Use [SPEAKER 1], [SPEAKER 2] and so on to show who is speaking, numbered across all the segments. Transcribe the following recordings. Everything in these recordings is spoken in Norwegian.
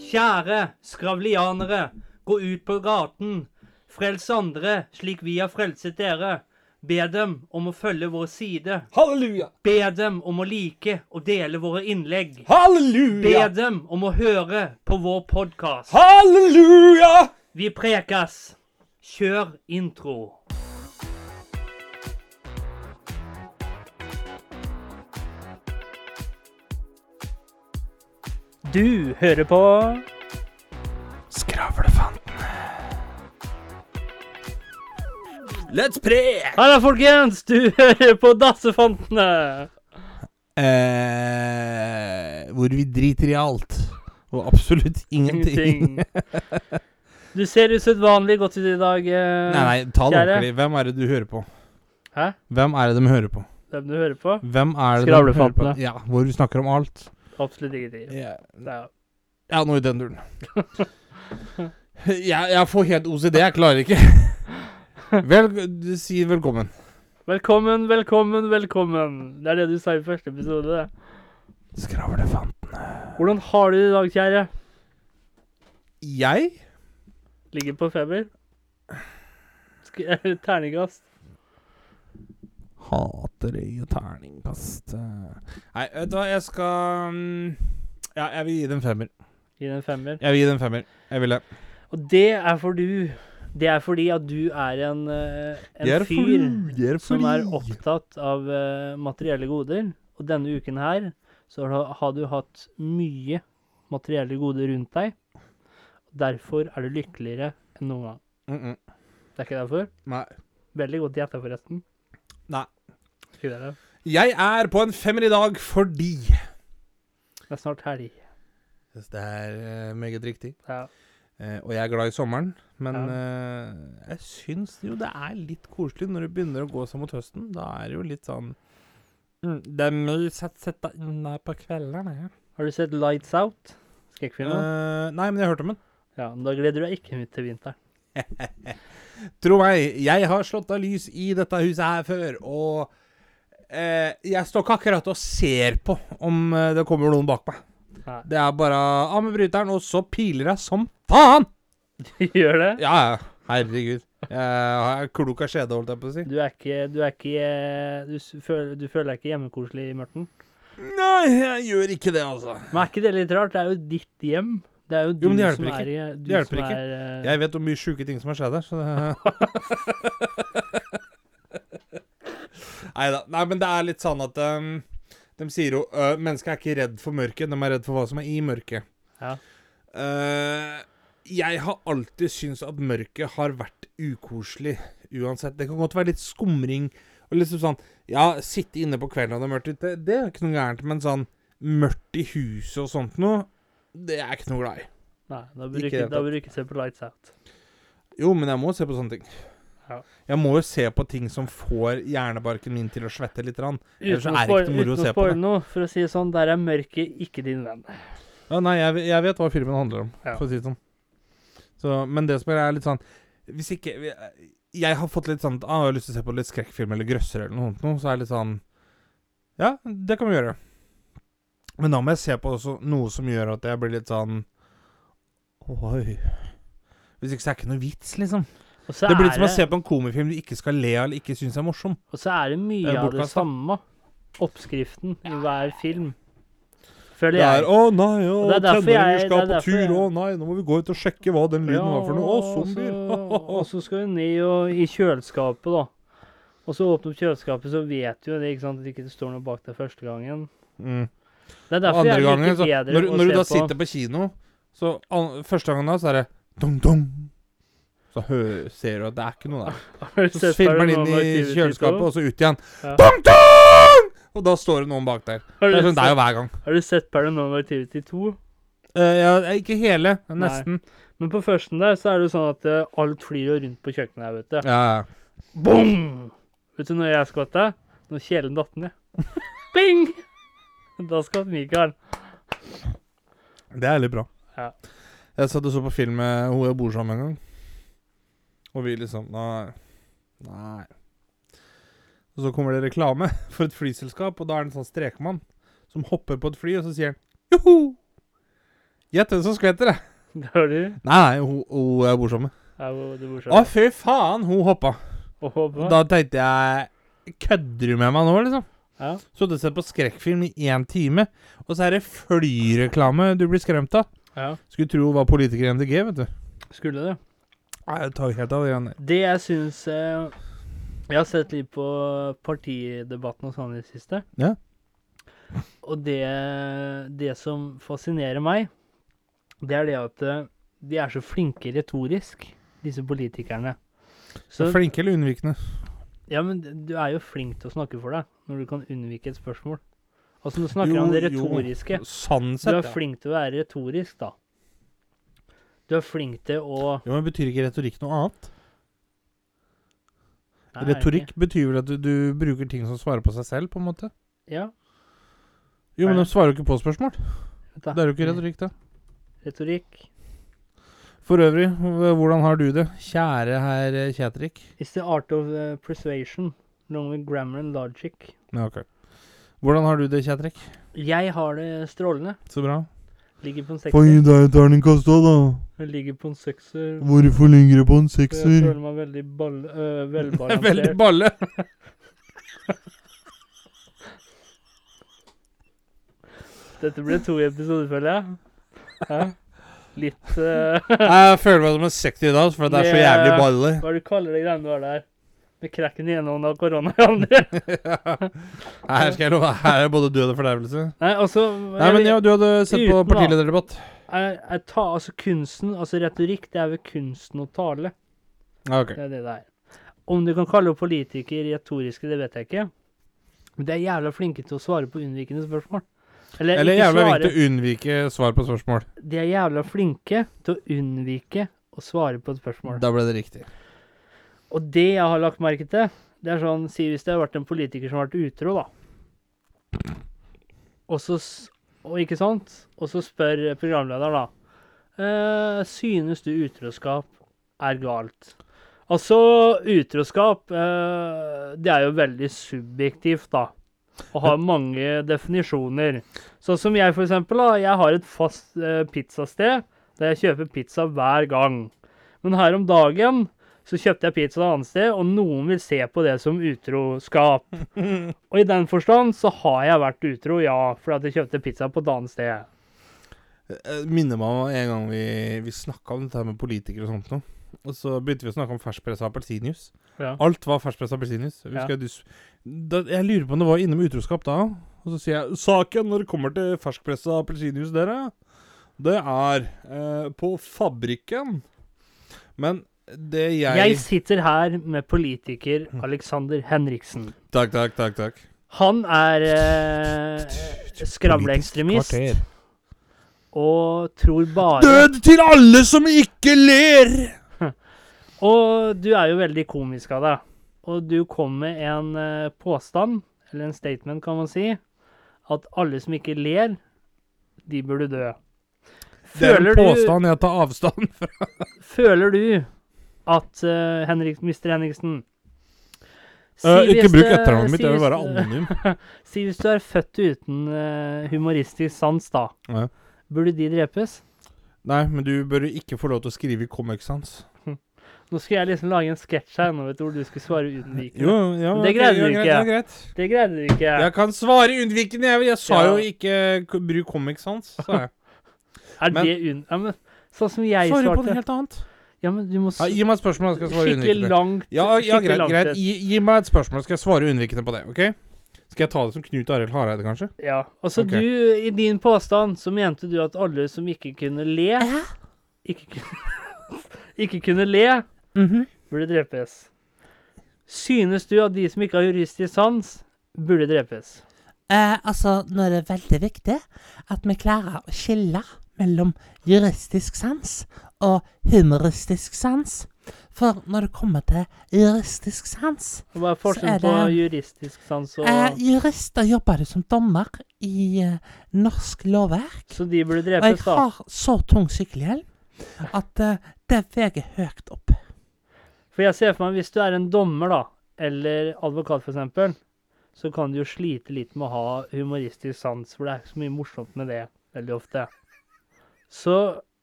[SPEAKER 1] Kjære skravlianere, gå ut på gaten. Frels andre slik vi har frelset dere. Be dem om å følge vår side.
[SPEAKER 2] Halleluja!
[SPEAKER 1] Be dem om å like og dele våre innlegg. Be
[SPEAKER 2] Halleluja!
[SPEAKER 1] dem om å høre på vår podkast.
[SPEAKER 2] Halleluja!
[SPEAKER 1] Vi prekes! Kjør intro. Du hører på
[SPEAKER 2] Skravlefantene. Let's pray!
[SPEAKER 1] Halla, folkens! Du hører på Dassefantene.
[SPEAKER 2] Eh, hvor vi driter i alt. Og absolutt ingenting.
[SPEAKER 1] Ingenting. Du ser usedvanlig godt ut i dag. eh,
[SPEAKER 2] Nei, nei, ta det
[SPEAKER 1] Kjære.
[SPEAKER 2] ordentlig. Hvem er det du hører på?
[SPEAKER 1] Hæ?
[SPEAKER 2] Hvem er det de hører på?
[SPEAKER 1] Hvem du hører på?
[SPEAKER 2] Hvem er det de hører på?
[SPEAKER 1] Skravlefantene.
[SPEAKER 2] Ja, hvor vi snakker om alt.
[SPEAKER 1] Absolutt ingenting.
[SPEAKER 2] Ja,
[SPEAKER 1] Det er-
[SPEAKER 2] ja noe i den duren. Jeg, jeg får helt OCD, jeg klarer ikke. Vel, du sier velkommen.
[SPEAKER 1] Velkommen, velkommen, velkommen. Det er det du sa i første episode. det.
[SPEAKER 2] Skravlefantene.
[SPEAKER 1] Hvordan har du det i dag, kjære?
[SPEAKER 2] Jeg?
[SPEAKER 1] Ligger på feber? Sk terningkast?
[SPEAKER 2] Hater i terningkast Nei, vet du hva, jeg skal mm, Ja, jeg vil gi det en femmer.
[SPEAKER 1] Gi den en femmer.
[SPEAKER 2] Jeg vil gi det en femmer. Jeg vil det.
[SPEAKER 1] Og det er for du. Det er fordi at du er en, eh, en
[SPEAKER 2] Jeg er
[SPEAKER 1] fyr
[SPEAKER 2] fordi- jeg er
[SPEAKER 1] som er
[SPEAKER 2] fordi.
[SPEAKER 1] opptatt av eh, materielle goder. Og denne uken her så har du- har du hatt mye materielle goder rundt deg. Derfor er du lykkeligere enn noen gang.
[SPEAKER 2] Mm -mm.
[SPEAKER 1] Det er ikke derfor?
[SPEAKER 2] Nei.
[SPEAKER 1] Veldig godt gjetta, forresten.
[SPEAKER 2] Nei.
[SPEAKER 1] Ikke det, da.
[SPEAKER 2] Jeg er på en femmer i dag fordi
[SPEAKER 1] Det er snart helg.
[SPEAKER 2] Det er eh, meget riktig.
[SPEAKER 1] Ja.
[SPEAKER 2] Eh, og jeg er glad i sommeren, men
[SPEAKER 1] Ja.
[SPEAKER 2] eh, jeg syns jo det er litt koselig når det begynner å gå seg mot høsten. Da er det jo litt sånn mm, Det er mye sett sette inn der på kveldene. Ja.
[SPEAKER 1] Har du sett Lights Out? Skrekkfilmen?
[SPEAKER 2] Eh, nei, men jeg hørte om den.
[SPEAKER 1] Ja, men da gleder du deg ikke til vinteren.
[SPEAKER 2] Tro meg, jeg har slått av lys i dette huset her før, og eh, jeg står ikke akkurat og ser på om eh, det kommer noen bak meg.
[SPEAKER 1] Nei.
[SPEAKER 2] Det er bare av med bryteren, og så piler jeg som faen!
[SPEAKER 1] Gjør det?
[SPEAKER 2] Ja, ja. Herregud. Jeg er klok av skjede, holdt jeg på å si.
[SPEAKER 1] Du er ikke Du, er ikke, eh, du, s- føler, du føler deg ikke hjemmekoselig i Mørten?
[SPEAKER 2] Nei, jeg gjør ikke det, altså.
[SPEAKER 1] Men er ikke det litt rart? Det er jo ditt hjem. Det er jo du
[SPEAKER 2] men det hjelper
[SPEAKER 1] som
[SPEAKER 2] ikke.
[SPEAKER 1] er i- du
[SPEAKER 2] hjelper
[SPEAKER 1] som
[SPEAKER 2] ikke.
[SPEAKER 1] Er, eh,
[SPEAKER 2] Jeg vet om mye sjuke ting som har skjedd her, så det Neida. Nei men det er litt sånn at ehm, De sier jo uh, mennesker er ikke redd for mørket, de er redd for hva som er i mørket.
[SPEAKER 1] Ja.
[SPEAKER 2] Eh, jeg har alltid syntes at mørket har vært ukoselig uansett. Det kan godt være litt skumring og liksom sånn Ja, sitte inne på kvelden og det er mørkt ute, det er ikke noe gærent, men sånn mørkt i huset og sånt noe, det er jeg ikke noe glad i.
[SPEAKER 1] Nei, da
[SPEAKER 2] Ikke i det hele
[SPEAKER 1] bruker da bør du ikke se på Lights Out.
[SPEAKER 2] Jo, men jeg må se på sånne ting.
[SPEAKER 1] Ja.
[SPEAKER 2] Jeg må jo se på ting som får hjernebarken min til å svette litt. Rann. Ellers
[SPEAKER 1] Uten å
[SPEAKER 2] er det ikke
[SPEAKER 1] spoil-
[SPEAKER 2] noe moro å
[SPEAKER 1] uten å
[SPEAKER 2] se på
[SPEAKER 1] spoile
[SPEAKER 2] det.
[SPEAKER 1] noe, for å si det sånn, der er mørket ikke din venn.
[SPEAKER 2] Ja, nei, jeg, jeg vet hva filmen handler om,
[SPEAKER 1] Ja.
[SPEAKER 2] for å si det sånn. Så, men det som er, er litt sånn Hvis ikke Jeg har fått litt sånn at, ah, Jeg har lyst til å se på litt skrekkfilm eller grøsser eller noe sånt, noe, så er det litt sånn Ja, det kan vi gjøre. Men da må jeg se på også noe som gjør at jeg blir litt sånn Oi. Hvis ikke så er det ikke noe vits, liksom.
[SPEAKER 1] Og så,
[SPEAKER 2] det blir litt
[SPEAKER 1] er
[SPEAKER 2] som å
[SPEAKER 1] det,
[SPEAKER 2] se på en komifilm du ikke skal le av eller ikke syns er morsom.
[SPEAKER 1] og så er det mye
[SPEAKER 2] Det
[SPEAKER 1] av
[SPEAKER 2] er
[SPEAKER 1] det
[SPEAKER 2] bortkastet.
[SPEAKER 1] samme. Oppskriften i hver film. Føler
[SPEAKER 2] Det er
[SPEAKER 1] jeg.
[SPEAKER 2] 'Å nei, å,
[SPEAKER 1] Og det er derfor
[SPEAKER 2] tenåringer
[SPEAKER 1] jeg-
[SPEAKER 2] skal
[SPEAKER 1] det er
[SPEAKER 2] på
[SPEAKER 1] derfor jeg-
[SPEAKER 2] tur', 'Å nei, nå må vi gå ut og sjekke hva den lyden var for noe', 'Å, zombier'.
[SPEAKER 1] Og så, og så skal vi ned og, i kjøleskapet, da. Og så åpne opp kjøleskapet, så vet du jo det, ikke sant, at det ikke står noe bak deg første gangen.
[SPEAKER 2] mm.
[SPEAKER 1] Det er
[SPEAKER 2] Og
[SPEAKER 1] derfor
[SPEAKER 2] andre
[SPEAKER 1] jeg
[SPEAKER 2] gangen,
[SPEAKER 1] liker
[SPEAKER 2] så,
[SPEAKER 1] bedre
[SPEAKER 2] når,
[SPEAKER 1] å
[SPEAKER 2] når du
[SPEAKER 1] se
[SPEAKER 2] da
[SPEAKER 1] på
[SPEAKER 2] sitter på kino, så an, første gangen da, så er det dong, dong. Så hø, ser du at det er ikke noe der.
[SPEAKER 1] Har du
[SPEAKER 2] Så
[SPEAKER 1] sett
[SPEAKER 2] filmer den
[SPEAKER 1] Paranormal
[SPEAKER 2] inn i
[SPEAKER 1] Activity
[SPEAKER 2] kjøleskapet,
[SPEAKER 1] 2?
[SPEAKER 2] og så ut igjen.
[SPEAKER 1] Ja.
[SPEAKER 2] Dong, dong! Og da står det noen bak der.
[SPEAKER 1] Har
[SPEAKER 2] Det
[SPEAKER 1] du,
[SPEAKER 2] er, sånn, det er
[SPEAKER 1] sett,
[SPEAKER 2] jo hver gang.
[SPEAKER 1] har du sett Paranormal Activity 2?
[SPEAKER 2] Eh, ja, ikke hele, men
[SPEAKER 1] Nei.
[SPEAKER 2] nesten.
[SPEAKER 1] Men på førsten der så er det jo sånn at eh, alt flyr jo rundt på kjøkkenet her, vet du.
[SPEAKER 2] Ja, ja.
[SPEAKER 1] Boom! Vet du når jeg skvatt da? Når kjelen datt ned. Bing! Da skvatt Mikael.
[SPEAKER 2] Det er litt bra.
[SPEAKER 1] Ja.
[SPEAKER 2] Jeg satt og så på film med hun jeg bor sammen med en gang. Og vi liksom Nei. Nei. Og så kommer det reklame for et flyselskap, og da er det en sånn strekmann som hopper på et fly, og så sier han joho! Gjett hvem som skvetter, det.
[SPEAKER 1] Det var du.
[SPEAKER 2] Nei, nei, hun, hun er morsomme.
[SPEAKER 1] Ja, hvor- du bor
[SPEAKER 2] Å,
[SPEAKER 1] sånn.
[SPEAKER 2] fy faen, hun hoppa.
[SPEAKER 1] Og håper.
[SPEAKER 2] Da tenkte jeg Kødder du med meg nå, liksom?
[SPEAKER 1] Ja.
[SPEAKER 2] Så du ser på skrekkfilm i én time, og så er det flyreklame du blir skremt av.
[SPEAKER 1] ja.
[SPEAKER 2] Skulle tro hun var politiker i MDG, vet du.
[SPEAKER 1] Skulle det.
[SPEAKER 2] Nei, det tar jo helt av, det greiene der.
[SPEAKER 1] Det jeg syns eh, Jeg har sett litt på partidebatten og sånn i det siste.
[SPEAKER 2] Ja.
[SPEAKER 1] Og det, det som fascinerer meg, det er det at eh, de er så flinke retorisk, disse politikerne. Så,
[SPEAKER 2] Flinke eller unnvikende?
[SPEAKER 1] ja, men du er jo flink til å snakke for deg når du kan unnvike et spørsmål. Altså, du snakker om det
[SPEAKER 2] Jo, jo.
[SPEAKER 1] retoriske.
[SPEAKER 2] Sånn
[SPEAKER 1] Du
[SPEAKER 2] sett,
[SPEAKER 1] er
[SPEAKER 2] ja.
[SPEAKER 1] flink til å være retorisk, da. Du er flink til å
[SPEAKER 2] Jo, men Betyr ikke retorikk noe annet?
[SPEAKER 1] Nei,
[SPEAKER 2] Retorikk betyr vel at du, du bruker ting som svarer på seg selv, på en måte?
[SPEAKER 1] Ja.
[SPEAKER 2] Jo, men
[SPEAKER 1] Nei.
[SPEAKER 2] de svarer jo ikke på spørsmål.
[SPEAKER 1] vet da.
[SPEAKER 2] Det er jo ikke retorikk, det.
[SPEAKER 1] Retorikk.
[SPEAKER 2] For øvrig, h- hvordan har du det, kjære herr eh, Kjetrik?
[SPEAKER 1] It's the art of uh, persuasion, along with grammar and logic.
[SPEAKER 2] Ja, ok. Hvordan har du det, Kjetrik?
[SPEAKER 1] Jeg har det strålende.
[SPEAKER 2] Så bra.
[SPEAKER 1] Ligger på en
[SPEAKER 3] Få gi
[SPEAKER 1] sekser.
[SPEAKER 3] deg et terningkast òg, da.
[SPEAKER 1] Jeg Ligger på en sekser.
[SPEAKER 3] Hvorfor ligger du på en
[SPEAKER 1] Jeg
[SPEAKER 3] sekser?
[SPEAKER 1] føler meg veldig ball... øh,
[SPEAKER 2] Veldig
[SPEAKER 1] velbalansert.
[SPEAKER 2] balle.
[SPEAKER 1] Dette ble to episoder, føler jeg. Hæ? Litt øh,
[SPEAKER 2] Jeg føler meg som en 60 i dag, for det er så
[SPEAKER 1] Yeah.
[SPEAKER 2] jævlig balle.
[SPEAKER 1] Hva er det du kaller det greiene du har der? Med krekken i ene hånda og korona i andre?
[SPEAKER 2] Her skal jeg love deg, her er både død og fordervelse.
[SPEAKER 1] Nei, altså
[SPEAKER 2] Nei, men ja, du hadde sett på
[SPEAKER 1] Uten, da.
[SPEAKER 2] partilederdebatt.
[SPEAKER 1] jeg, jeg ta, altså kunsten, altså retorikk, det er vel kunsten å tale.
[SPEAKER 2] Ja, ok.
[SPEAKER 1] Det er det det er. Om du kan kalle politikere retoriske, det vet jeg ikke. Men de er jævla flinke til å svare på unnvikende spørsmål. Eller,
[SPEAKER 2] Eller
[SPEAKER 1] ikke
[SPEAKER 2] jævla
[SPEAKER 1] svare,
[SPEAKER 2] viktig å unnvike svar på spørsmål.
[SPEAKER 1] De er jævla flinke til å unnvike å svare på et spørsmål.
[SPEAKER 2] Da ble det riktig.
[SPEAKER 1] Og det jeg har lagt merke til, det er sånn Si hvis det har vært en politiker som har vært utro, da. Og så s- og ikke sant? Og så spør programlederen, da. Eh, synes du utroskap er galt? Altså, utroskap eh, Det er jo veldig subjektivt, da. Og har mange definisjoner. Sånn som jeg, for eksempel. Da, jeg har et fast eh, pizzasted der jeg kjøper pizza hver gang. Men her om dagen så kjøpte jeg pizza et annet sted, og noen vil se på det som utroskap. Og i den forstand så har jeg vært utro, ja, fordi at jeg kjøpte pizza på et annet sted.
[SPEAKER 2] Eh, minner meg om en gang vi, vi snakka om dette her med politikere og sånt noe. Og så begynte vi å snakke om ferskpressa appelsinjuice.
[SPEAKER 1] Ja.
[SPEAKER 2] Alt var ferskpressa appelsinjuice. Jeg, husker jeg dus- da- jeg lurer på om det var inne med utroskap da òg. Og så sier jeg saken når det kommer til ferskpressa appelsinjuice, dere, det er eh, på fabrikken. Men det jeg,
[SPEAKER 1] Jeg sitter her med politiker Alexander Henriksen.
[SPEAKER 2] Takk, takk, takk. takk.
[SPEAKER 1] Han er eh, skravleekstremist og tror bare
[SPEAKER 2] Død til alle som ikke ler!
[SPEAKER 1] Og du er jo veldig komisk av deg. Og du kom med en eh, påstand, eller en statement, kan man si, at alle som ikke ler, de burde dø.
[SPEAKER 2] Det er en
[SPEAKER 1] Føler du,
[SPEAKER 2] påstand jeg tar avstand fra.
[SPEAKER 1] føler du at eh, Henrik, Mr. Henriksen si
[SPEAKER 2] Eh, ikke
[SPEAKER 1] hvis
[SPEAKER 2] bruk
[SPEAKER 1] det-
[SPEAKER 2] etternavnet mitt,
[SPEAKER 1] si
[SPEAKER 2] jeg vil
[SPEAKER 1] hvis-
[SPEAKER 2] være anonym.
[SPEAKER 1] Si hvis du er født uten eh, humoristisk sans, da.
[SPEAKER 2] Ja.
[SPEAKER 1] Burde de drepes?
[SPEAKER 2] Nei, men du bør ikke få lov til å skrive i Comic Sans.
[SPEAKER 1] Nå skulle jeg liksom lage en sketsj her nå, vet du, hvor du skulle svare unnvikende.
[SPEAKER 2] Jo, ja,
[SPEAKER 1] Men det
[SPEAKER 2] ok,
[SPEAKER 1] greide
[SPEAKER 2] ja,
[SPEAKER 1] du
[SPEAKER 2] greit,
[SPEAKER 1] ikke.
[SPEAKER 2] ja, greit.
[SPEAKER 1] Det greide du ikke.
[SPEAKER 2] Jeg kan svare unnvikende. Jeg, jeg sa
[SPEAKER 1] Ja.
[SPEAKER 2] jo ikke k- bruk Comic Sans, sa jeg.
[SPEAKER 1] Er
[SPEAKER 2] Men-
[SPEAKER 1] det unn... Ja, men, sånn som jeg
[SPEAKER 2] Svarer på
[SPEAKER 1] svarte
[SPEAKER 2] noe helt annet.
[SPEAKER 1] Ja, men du må s-
[SPEAKER 2] Ja, gi meg et spørsmål, jeg skal svare
[SPEAKER 1] Skikkelig
[SPEAKER 2] unnvikende.
[SPEAKER 1] langt.
[SPEAKER 2] Ja, ja,
[SPEAKER 1] skikkelig
[SPEAKER 2] greit,
[SPEAKER 1] langt
[SPEAKER 2] greit.
[SPEAKER 1] et-
[SPEAKER 2] Gi, gi meg et spørsmål, skal jeg svare unnvikende på det. ok? Skal jeg ta det som Knut Arild Hareide, kanskje?
[SPEAKER 1] Ja. Altså,
[SPEAKER 2] Ok.
[SPEAKER 1] du, i din påstand så mente du at alle som ikke kunne le Ikke kunne, ikke kunne le,
[SPEAKER 2] Mhm.
[SPEAKER 1] burde drepes. Synes du at de som ikke har juristisk sans, burde drepes?
[SPEAKER 4] Eh, altså, nå er det veldig viktig at vi klarer å skille mellom juristisk sans og humoristisk sans. For når det kommer til juristisk sans
[SPEAKER 1] Og Hva er
[SPEAKER 4] Så er
[SPEAKER 1] forskjellen
[SPEAKER 4] det-
[SPEAKER 1] på juristisk sans og
[SPEAKER 4] eh, Jurister jobber jo som dommer i eh, norsk lovverk.
[SPEAKER 1] Så de burde
[SPEAKER 4] Og jeg
[SPEAKER 1] drepes, da?
[SPEAKER 4] har så tung sykkelhjelm at eh, det veier høyt opp.
[SPEAKER 1] For jeg ser for meg, hvis du er en dommer, da, eller advokat, for eksempel, så kan du jo slite litt med å ha humoristisk sans, for det er ikke så mye morsomt med det veldig ofte. Så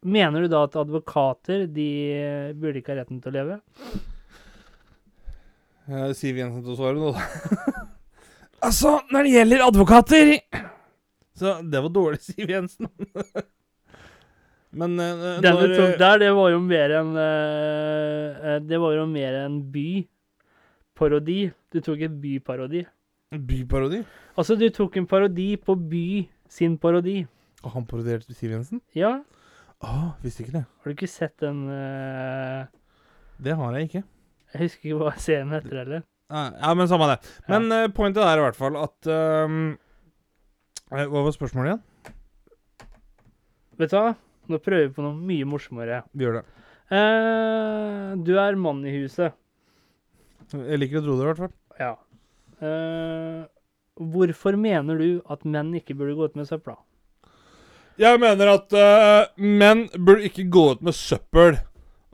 [SPEAKER 1] mener du da at advokater, de eh, burde ikke ha retten til å leve?
[SPEAKER 2] Eh, Siv Jensen til å svare nå, da. altså, når det gjelder advokater Så det var dårlig, Siv Jensen. Men eh,
[SPEAKER 1] Den du
[SPEAKER 2] når,
[SPEAKER 1] tok der, det var jo mer en eh, eh, Det var jo mer en byparodi. Du tok en byparodi.
[SPEAKER 2] eh, Byparodi.
[SPEAKER 1] Altså, du tok en parodi på By sin parodi.
[SPEAKER 2] Og han parodierte Siv Jensen?
[SPEAKER 1] Ja,
[SPEAKER 2] Å, visste ikke det.
[SPEAKER 1] har du ikke sett den eh,
[SPEAKER 2] Det har jeg ikke.
[SPEAKER 1] Jeg husker ikke hva serien heter heller.
[SPEAKER 2] Nei, Ja, men samme det.
[SPEAKER 1] Ja.
[SPEAKER 2] Men eh, pointet er i hvert fall at ehm, eh, Hva var spørsmålet igjen?
[SPEAKER 1] Vet du hva? Nå prøver vi på noe mye morsommere.
[SPEAKER 2] Vi gjør det.
[SPEAKER 1] Eh, du er mann i huset.
[SPEAKER 2] Jeg liker å tro det, i hvert fall.
[SPEAKER 1] Ja. Eh, hvorfor mener du at menn ikke burde gå ut med søpla?
[SPEAKER 2] Jeg mener at eh, menn burde ikke gå ut med søppel.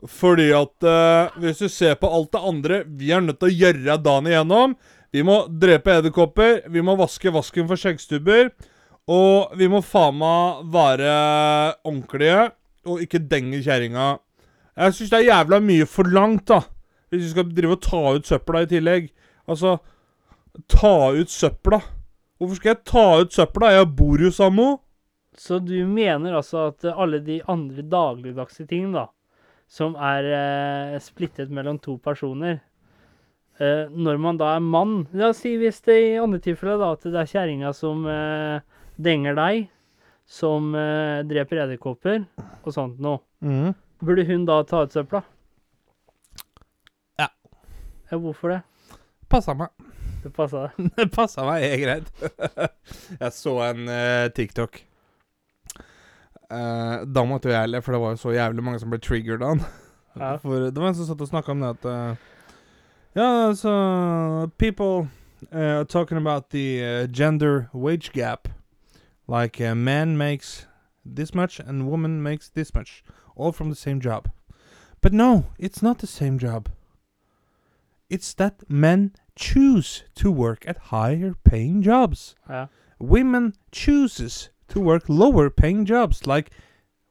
[SPEAKER 2] Fordi at eh, hvis du ser på alt det andre vi er nødt til å gjøre dagen igjennom Vi må drepe edderkopper, vi må vaske vasken for skjeggstubber, og vi må faen meg være ordentlige og ikke denge kjerringa. Jeg syns det er jævla mye forlangt, da. Hvis vi skal drive og ta ut søpla i tillegg. Altså Ta ut søpla. Hvorfor skal jeg ta ut søpla? Jeg bor jo sammen med henne.
[SPEAKER 1] Så du mener altså at alle de andre dagligdagse tingene, da, som er eh, splittet mellom to personer eh, Når man da er mann La oss si hvis det i andre tilfeller da, at det er kjerringa som eh, denger deg, som eh, dreper edderkopper og sånt noe. Burde hun da ta ut søpla?
[SPEAKER 2] Ja.
[SPEAKER 1] Ja, hvorfor det?
[SPEAKER 2] Passa meg.
[SPEAKER 1] Det passa deg.
[SPEAKER 2] Det passa meg helt greit. jeg så en eh, TikTok. Eh, da måtte jo jeg le, for det var jo så jævlig mange som ble triggered av den.
[SPEAKER 1] Ja.
[SPEAKER 2] For det var en som satt og snakka om det at eh, Ja, altså People eh, are talking about the eh, gender wage gap. Like a man makes this much and woman makes this much. All from the same job. But no, it's not the same job. It's that men choose to work at higher paying jobs.
[SPEAKER 1] Ja.
[SPEAKER 2] Women chooses to work lower paying jobs like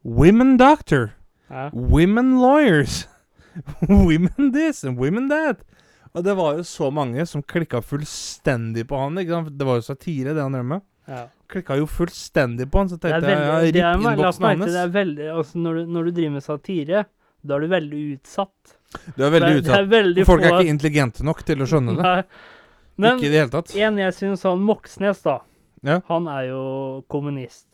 [SPEAKER 2] women doctor,
[SPEAKER 1] Ja.
[SPEAKER 2] women lawyers, women this and women that. Og det var jo så mange som klikka fullstendig på han. ikke sant? Det var jo satire, det han drev med.
[SPEAKER 1] ja.
[SPEAKER 2] Klikka jo fullstendig på han, så
[SPEAKER 1] Det er
[SPEAKER 2] tenkte
[SPEAKER 1] veldig,
[SPEAKER 2] jeg
[SPEAKER 1] det
[SPEAKER 2] ja,
[SPEAKER 1] er,
[SPEAKER 2] ripp
[SPEAKER 1] la oss
[SPEAKER 2] innboksen
[SPEAKER 1] merke til,
[SPEAKER 2] hans.
[SPEAKER 1] det er veldig, altså når, du, når du driver med satire, da er du veldig utsatt.
[SPEAKER 2] Du er veldig
[SPEAKER 1] det, er-
[SPEAKER 2] utsatt.
[SPEAKER 1] Det er veldig
[SPEAKER 2] Folk er
[SPEAKER 1] få-
[SPEAKER 2] ikke intelligente nok til å skjønne det.
[SPEAKER 1] Nei. Men
[SPEAKER 2] ikke i det hele tatt.
[SPEAKER 1] en jeg syns han Moxnes, da,
[SPEAKER 2] Ja.
[SPEAKER 1] han er jo kommunist.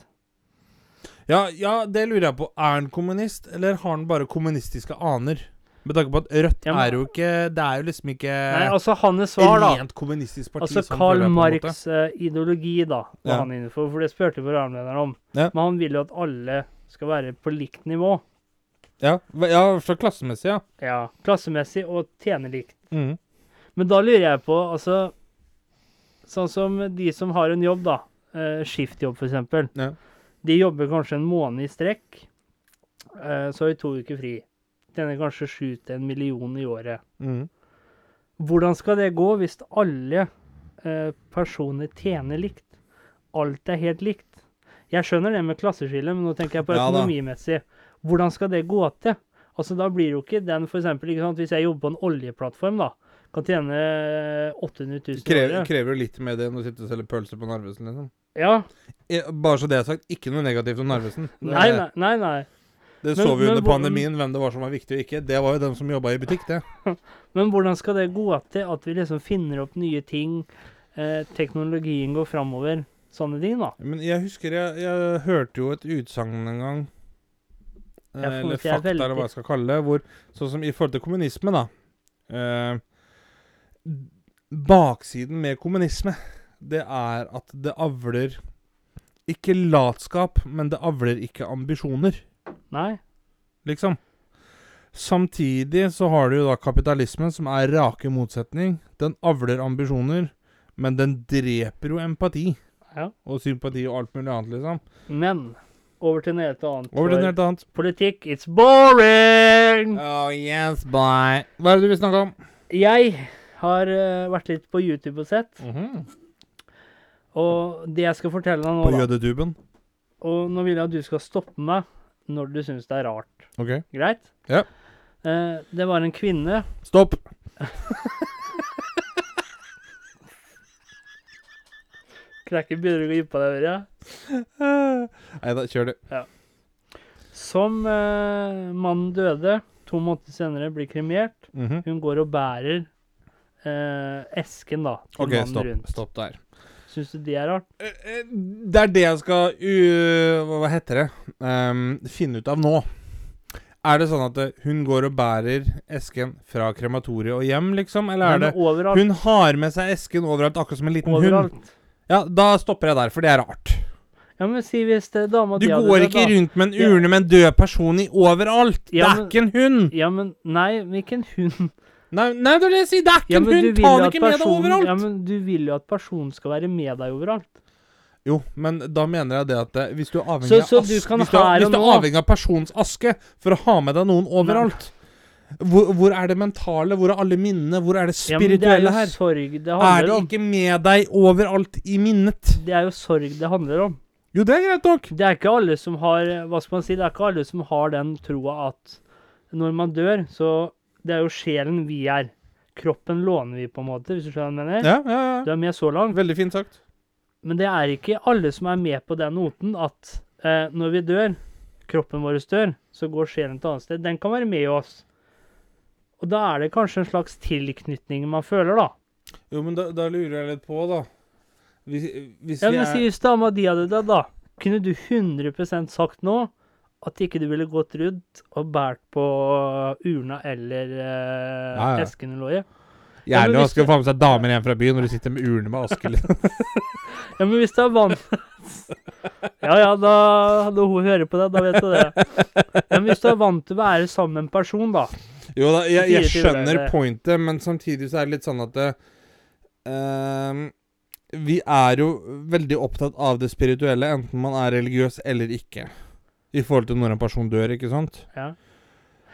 [SPEAKER 2] Ja, ja, det lurer jeg på. Er han kommunist, eller har han bare kommunistiske aner? Med tanke på at Rødt
[SPEAKER 1] Ja, men-
[SPEAKER 2] er jo ikke Det er jo liksom ikke
[SPEAKER 1] Nei, altså hans svar, da.
[SPEAKER 2] rent kommunistisk parti.
[SPEAKER 1] Altså
[SPEAKER 2] sånn
[SPEAKER 1] Karl
[SPEAKER 2] føler jeg på en måte.
[SPEAKER 1] Marx' eh, ideologi, da, var
[SPEAKER 2] Ja.
[SPEAKER 1] han inne for, for det spurte programlederen om.
[SPEAKER 2] Ja.
[SPEAKER 1] Men han vil jo at alle skal være på likt nivå.
[SPEAKER 2] Ja, v- ja fra klassemessig, ja.
[SPEAKER 1] Ja, Klassemessig og tjene likt.
[SPEAKER 2] Mm.
[SPEAKER 1] Men da lurer jeg på, altså Sånn som de som har en jobb, da. Eh, skiftjobb, for eksempel.
[SPEAKER 2] Ja.
[SPEAKER 1] De jobber kanskje en måned i strekk. Eh, så har de to uker fri. Tjener kanskje sju til en million i året.
[SPEAKER 2] Mm.
[SPEAKER 1] Hvordan skal det gå hvis alle eh, personer tjener likt? Alt er helt likt. Jeg skjønner det med klasseskille, men nå tenker jeg på
[SPEAKER 2] Ja da.
[SPEAKER 1] økonomimessig. Hvordan skal det gå til? Altså, da blir jo ikke den, for eksempel, ikke sant, hvis jeg jobber på en oljeplattform, da, kan tjene 800 000 i
[SPEAKER 2] Krever,
[SPEAKER 1] året.
[SPEAKER 2] krever jo litt med det enn å sitte og selge pølser på Narvesen, liksom.
[SPEAKER 1] Ja.
[SPEAKER 2] Eh, Bare så det er sagt, ikke noe negativt om Narvesen. Det,
[SPEAKER 1] Nei, nei, nei. nei.
[SPEAKER 2] det
[SPEAKER 1] Men-
[SPEAKER 2] så vi
[SPEAKER 1] men
[SPEAKER 2] under
[SPEAKER 1] hvor-
[SPEAKER 2] pandemien, hvem det var som var viktig og ikke. Det var jo dem som jobba i butikk, det.
[SPEAKER 1] Men hvordan skal det gå til at vi liksom finner opp nye ting, eh, teknologien går framover, sånne ting, da?
[SPEAKER 2] Men jeg husker jeg, jeg hørte jo et utsagn en gang eh,
[SPEAKER 1] Jeg får
[SPEAKER 2] Eller
[SPEAKER 1] ikke- jeg er
[SPEAKER 2] fakta, eller hva jeg skal kalle det. Hvor, sånn som i forhold til kommunisme, da eh, d- Baksiden med kommunisme, det er at det avler ikke latskap, men det avler ikke ambisjoner,
[SPEAKER 1] Nei?
[SPEAKER 2] liksom. Samtidig så har du jo da kapitalismen, som er rake motsetning. Den avler ambisjoner, men den dreper jo empati
[SPEAKER 1] Ja.
[SPEAKER 2] og sympati og alt mulig annet, liksom.
[SPEAKER 1] Men over til noe helt annet.
[SPEAKER 2] Over til
[SPEAKER 1] for
[SPEAKER 2] noe helt annet.
[SPEAKER 1] Politikk, it's boring!
[SPEAKER 2] Oh, yes, bye. Hva er det du vil snakke om?
[SPEAKER 1] Jeg har eh, vært litt på YouTube og sett,
[SPEAKER 2] Mhm.
[SPEAKER 1] og det jeg skal fortelle deg
[SPEAKER 2] På
[SPEAKER 1] nå, da
[SPEAKER 2] jødetuben.
[SPEAKER 1] Og nå vil jeg at du skal stoppe meg når du syns det er rart.
[SPEAKER 2] OK.
[SPEAKER 1] Greit?
[SPEAKER 2] Ja.
[SPEAKER 1] Eh, det var en kvinne
[SPEAKER 2] Stopp!
[SPEAKER 1] Krekker begynner å gå inn på deg, hører jeg.
[SPEAKER 2] Nei da, kjør du.
[SPEAKER 1] Som eh, mannen døde to måneder senere, blir kremert.
[SPEAKER 2] Mhm.
[SPEAKER 1] Hun går og bærer eh, esken da, til
[SPEAKER 2] OK,
[SPEAKER 1] mannen
[SPEAKER 2] stopp.
[SPEAKER 1] rundt.
[SPEAKER 2] Stopp der.
[SPEAKER 1] Syns du det er rart?
[SPEAKER 2] Eh, eh, Det er det jeg skal uh, hva- Hva heter det? Ehm, finne ut av nå. Er det sånn at eh, hun går og bærer esken fra krematoriet og hjem, liksom? Eller er
[SPEAKER 1] Men
[SPEAKER 2] det
[SPEAKER 1] overalt.
[SPEAKER 2] Hun har med seg esken overalt, akkurat som en liten hund.
[SPEAKER 1] overalt.
[SPEAKER 2] Ja, da stopper jeg der, for det er rart.
[SPEAKER 1] Ja, men si hvis det, dama
[SPEAKER 2] Du
[SPEAKER 1] di hadde
[SPEAKER 2] går
[SPEAKER 1] dødd,
[SPEAKER 2] ikke
[SPEAKER 1] da.
[SPEAKER 2] rundt med en
[SPEAKER 1] Ja.
[SPEAKER 2] urne med en død person i overalt! Det
[SPEAKER 1] Ja,
[SPEAKER 2] er
[SPEAKER 1] men-
[SPEAKER 2] ikke en hund!
[SPEAKER 1] Ja, men nei, men ikke en hund.
[SPEAKER 2] Nei, nei, det er det jeg sier! Det er ikke
[SPEAKER 1] Ja,
[SPEAKER 2] en
[SPEAKER 1] men du
[SPEAKER 2] hund!
[SPEAKER 1] vil
[SPEAKER 2] Ta
[SPEAKER 1] jo
[SPEAKER 2] den
[SPEAKER 1] at
[SPEAKER 2] ikke med deg
[SPEAKER 1] personen,
[SPEAKER 2] overalt!
[SPEAKER 1] ja, men du vil jo at personen skal være med deg overalt.
[SPEAKER 2] Jo, men da mener jeg det at eh, hvis du er avhengig,
[SPEAKER 1] Så- så
[SPEAKER 2] av,
[SPEAKER 1] du
[SPEAKER 2] aske,
[SPEAKER 1] kan
[SPEAKER 2] hvis du er,
[SPEAKER 1] her og
[SPEAKER 2] hvis du er
[SPEAKER 1] nå-
[SPEAKER 2] avhengig av persons aske for å ha med deg noen overalt hvor, hvor er det mentale? Hvor er alle minnene? Hvor er det
[SPEAKER 1] Ja, men det er
[SPEAKER 2] spirituelle
[SPEAKER 1] jo
[SPEAKER 2] her?
[SPEAKER 1] sorg det
[SPEAKER 2] Er
[SPEAKER 1] handler
[SPEAKER 2] det
[SPEAKER 1] om.
[SPEAKER 2] ikke med deg overalt i minnet?
[SPEAKER 1] Det er jo sorg det handler om.
[SPEAKER 2] Jo, det er greit nok.
[SPEAKER 1] Det er ikke alle som har Hva skal man si? Det er ikke alle som har den troa at når man dør, så Det er jo sjelen vi er. Kroppen låner vi, på en måte, hvis du skjønner hva jeg mener?
[SPEAKER 2] Ja, ja,
[SPEAKER 1] Du
[SPEAKER 2] ja.
[SPEAKER 1] er med så langt.
[SPEAKER 2] Veldig fint sagt.
[SPEAKER 1] Men det er ikke alle som er med på den noten at eh, når vi dør, kroppen vår dør, så går sjelen til et annet sted. Den kan være med oss. Og da er det kanskje en slags tilknytning man føler, da.
[SPEAKER 2] Jo, men da, da lurer jeg litt på, da. Hvis, hvis
[SPEAKER 1] Ja,
[SPEAKER 2] vi
[SPEAKER 1] men
[SPEAKER 2] er-
[SPEAKER 1] si hvis dama di hadde dødd, da. Kunne du 100 sagt nå at ikke du ville gått rundt og båret på urna eller eh,
[SPEAKER 2] Ja, ja.
[SPEAKER 1] esken du lå i? Ja, men
[SPEAKER 2] Jævlig
[SPEAKER 1] hvis
[SPEAKER 2] vanskelig
[SPEAKER 1] du-
[SPEAKER 2] å få med seg damer hjem fra byen når du sitter med urne med aske. liksom.
[SPEAKER 1] Ja, men hvis det er vann Ja ja, da når hun hører på deg, da vet du det. Ja, men hvis du er vant til å være sammen med en person, da.
[SPEAKER 2] Jo da, jeg, jeg
[SPEAKER 1] Fire timer,
[SPEAKER 2] skjønner
[SPEAKER 1] det-
[SPEAKER 2] pointet, men samtidig så er det litt sånn at det, ehm, Vi er jo veldig opptatt av det spirituelle, enten man er religiøs eller ikke. I forhold til når en person dør, ikke sant?
[SPEAKER 1] Ja.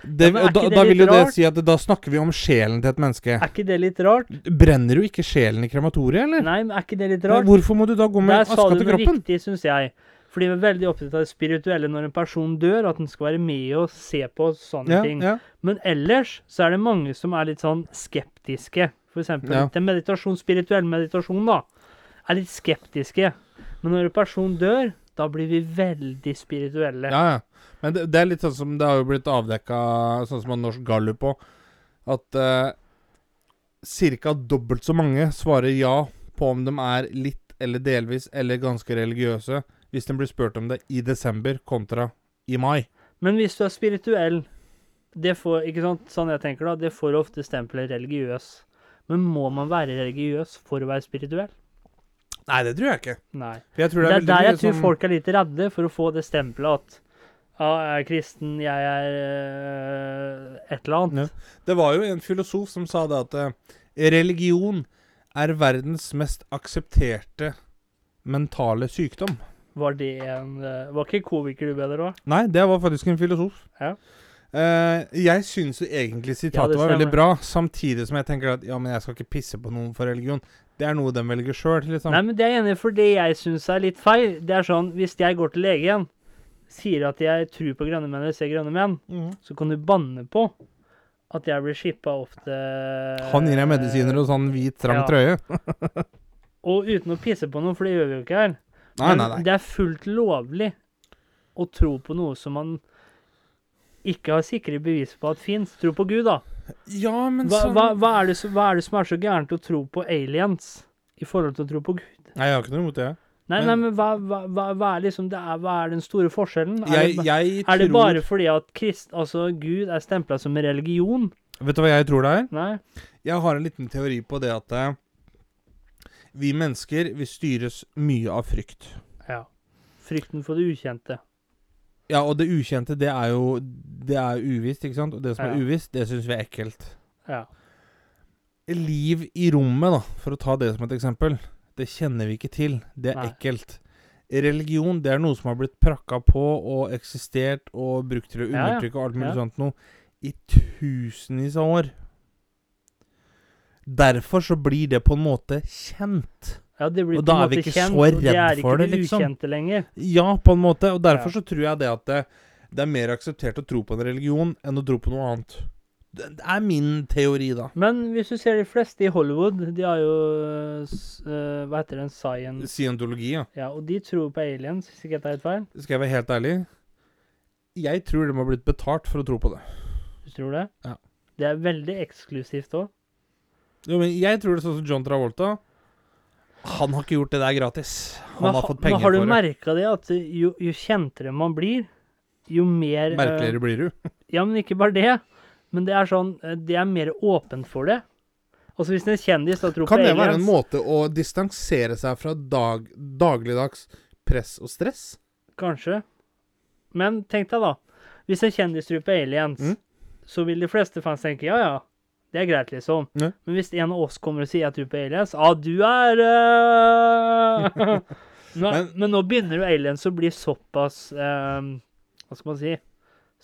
[SPEAKER 2] Det,
[SPEAKER 1] Ja, men er
[SPEAKER 2] og da,
[SPEAKER 1] ikke det
[SPEAKER 2] da vil jo
[SPEAKER 1] litt
[SPEAKER 2] det
[SPEAKER 1] rart?
[SPEAKER 2] si at da snakker vi om sjelen til et menneske.
[SPEAKER 1] Er ikke det litt rart?
[SPEAKER 2] Brenner jo ikke sjelen i krematoriet, eller?
[SPEAKER 1] Nei, men er ikke det litt rart?
[SPEAKER 2] Hvorfor må du da gå med
[SPEAKER 1] Der sa
[SPEAKER 2] aska
[SPEAKER 1] du
[SPEAKER 2] til
[SPEAKER 1] noe
[SPEAKER 2] kroppen?
[SPEAKER 1] riktig, syns jeg. Fordi vi er veldig opptatt av det spirituelle når en person dør, at den skal være med og se på sånne
[SPEAKER 2] Ja,
[SPEAKER 1] ting.
[SPEAKER 2] ja.
[SPEAKER 1] Men ellers så er det mange som er litt sånn skeptiske. For eksempel
[SPEAKER 2] Ja.
[SPEAKER 1] til meditasjon, spirituell meditasjon, da. Er litt skeptiske. Men når en person dør, da blir vi veldig spirituelle.
[SPEAKER 2] Ja, ja. Men det, det er litt sånn som det har jo blitt avdekka, sånn som av Norsk Gallup òg, at eh, ca. dobbelt så mange svarer ja på om de er litt eller delvis eller ganske religiøse, hvis de blir spurt om det i desember kontra i mai.
[SPEAKER 1] Men hvis du er spirituell, det får Ikke sant, sånn jeg tenker da, det får ofte stempelet religiøs. Men må man være religiøs for å være spirituell?
[SPEAKER 2] Nei, det tror jeg ikke.
[SPEAKER 1] Nei.
[SPEAKER 2] For jeg
[SPEAKER 1] Det
[SPEAKER 2] tror det
[SPEAKER 1] er,
[SPEAKER 2] er, veldig
[SPEAKER 1] der
[SPEAKER 2] mye
[SPEAKER 1] jeg tror
[SPEAKER 2] som-
[SPEAKER 1] folk er litt redde for å få det stempelet at ja, jeg er kristen, jeg er øh, et eller annet.
[SPEAKER 2] Det var jo en filosof som sa det at eh, religion er verdens mest aksepterte mentale sykdom.
[SPEAKER 1] Var det en øh, Var ikke komiker du bedre òg?
[SPEAKER 2] Nei, det var faktisk en filosof.
[SPEAKER 1] Ja.
[SPEAKER 2] Eh, jeg syns jo egentlig
[SPEAKER 1] Ja,
[SPEAKER 2] sitatet
[SPEAKER 1] det
[SPEAKER 2] var veldig
[SPEAKER 1] stemmer.
[SPEAKER 2] bra, samtidig som jeg tenker at ja, men jeg skal ikke pisse på noen for religion. Det er noe de velger sjøl, liksom.
[SPEAKER 1] Nei, men det er jeg enig i, for det jeg syns er litt feil, det er sånn hvis jeg går til legen, sier at jeg tror på grønne menn eller ser grønne menn,
[SPEAKER 2] Mhm.
[SPEAKER 1] så kan du banne på at jeg blir shippa opp til
[SPEAKER 2] Han gir deg medisiner og sånn hvit, trang
[SPEAKER 1] eh, Ja.
[SPEAKER 2] trøye.
[SPEAKER 1] Og uten å pisse på noen, for det gjør vi jo ikke her.
[SPEAKER 2] Nei,
[SPEAKER 1] Men
[SPEAKER 2] nei, nei.
[SPEAKER 1] Det er fullt lovlig å tro på noe som man ikke har sikre bevis på at fins. Tro på Gud, da.
[SPEAKER 2] Ja, men
[SPEAKER 1] Hva,
[SPEAKER 2] sånn-
[SPEAKER 1] hva, hva, er det som, hva er det som er så gærent å tro på aliens i forhold til å tro på Gud?
[SPEAKER 2] Nei, jeg har ikke noe imot det.
[SPEAKER 1] Nei,
[SPEAKER 2] Men-
[SPEAKER 1] nei, men hva, hva, hva, hva er liksom det er, Hva er den store forskjellen? Er
[SPEAKER 2] Jeg,
[SPEAKER 1] det, ba-
[SPEAKER 2] jeg
[SPEAKER 1] er det
[SPEAKER 2] tror
[SPEAKER 1] bare fordi at krist, altså Gud er stempla som en religion?
[SPEAKER 2] Vet du hva jeg tror det er?
[SPEAKER 1] Nei?
[SPEAKER 2] Jeg har en liten teori på det at eh, vi mennesker, vi styres mye av frykt.
[SPEAKER 1] Ja. Frykten for det ukjente.
[SPEAKER 2] Ja, og det ukjente, det er jo Det er jo uvisst, ikke sant? Og det som er
[SPEAKER 1] Ja.
[SPEAKER 2] uvisst, det syns vi er ekkelt.
[SPEAKER 1] Ja.
[SPEAKER 2] liv i rommet, da, for å ta det som et eksempel, det kjenner vi ikke til. Det er
[SPEAKER 1] Nei.
[SPEAKER 2] ekkelt. Religion det er noe som har blitt prakka på og eksistert og brukt til å
[SPEAKER 1] Ja, ja.
[SPEAKER 2] undertrykke og alt
[SPEAKER 1] Ja.
[SPEAKER 2] mulig sånt noe i tusenvis av år. Derfor så blir det på en måte kjent.
[SPEAKER 1] Ja, det blir
[SPEAKER 2] Og
[SPEAKER 1] på en
[SPEAKER 2] da er vi
[SPEAKER 1] måte
[SPEAKER 2] ikke
[SPEAKER 1] kjent,
[SPEAKER 2] så
[SPEAKER 1] og det
[SPEAKER 2] redd
[SPEAKER 1] er ikke
[SPEAKER 2] for det,
[SPEAKER 1] det
[SPEAKER 2] liksom.
[SPEAKER 1] ukjente lenger.
[SPEAKER 2] Ja, på en måte. Og derfor
[SPEAKER 1] Ja.
[SPEAKER 2] så tror jeg det at eh, det er mer akseptert å tro på en religion enn å tro på noe annet. Det det er min teori, da.
[SPEAKER 1] Men hvis du ser de fleste i Hollywood, de har jo eh, s- eh, Hva heter den? Science
[SPEAKER 2] Scientologi, ja.
[SPEAKER 1] Ja, og de tror på aliens, hvis ikke jeg tar helt feil.
[SPEAKER 2] Skal jeg være helt ærlig? Jeg tror de har blitt betalt for å tro på det.
[SPEAKER 1] Du tror det?
[SPEAKER 2] Ja.
[SPEAKER 1] Det er veldig eksklusivt òg.
[SPEAKER 2] Jo, men jeg tror det er sånn som John Travolta. Han har ikke gjort det der gratis. Han har fått penger
[SPEAKER 1] men har du
[SPEAKER 2] for det.
[SPEAKER 1] merka det, at jo, jo kjentere man blir, jo mer eh,
[SPEAKER 2] Merkeligere blir du.
[SPEAKER 1] Ja, men ikke bare det. Men det er sånn eh, Det er mer åpent for det. Altså hvis en kjendis da tror
[SPEAKER 2] Kan
[SPEAKER 1] på
[SPEAKER 2] det
[SPEAKER 1] aliens
[SPEAKER 2] være en måte å distansere seg fra dag, dagligdags press og stress?
[SPEAKER 1] Kanskje. Men tenk deg, da. Hvis en kjendis tror på aliens,
[SPEAKER 2] Mm.
[SPEAKER 1] så vil de fleste fans tenke ja, ja. Det er greit, liksom.
[SPEAKER 2] Ja.
[SPEAKER 1] Men hvis en av oss kommer og sier jeg tror på aliens Ja, du er eh, Nå- men,
[SPEAKER 2] Men-
[SPEAKER 1] nå begynner jo aliens å bli såpass eh, Hva skal man si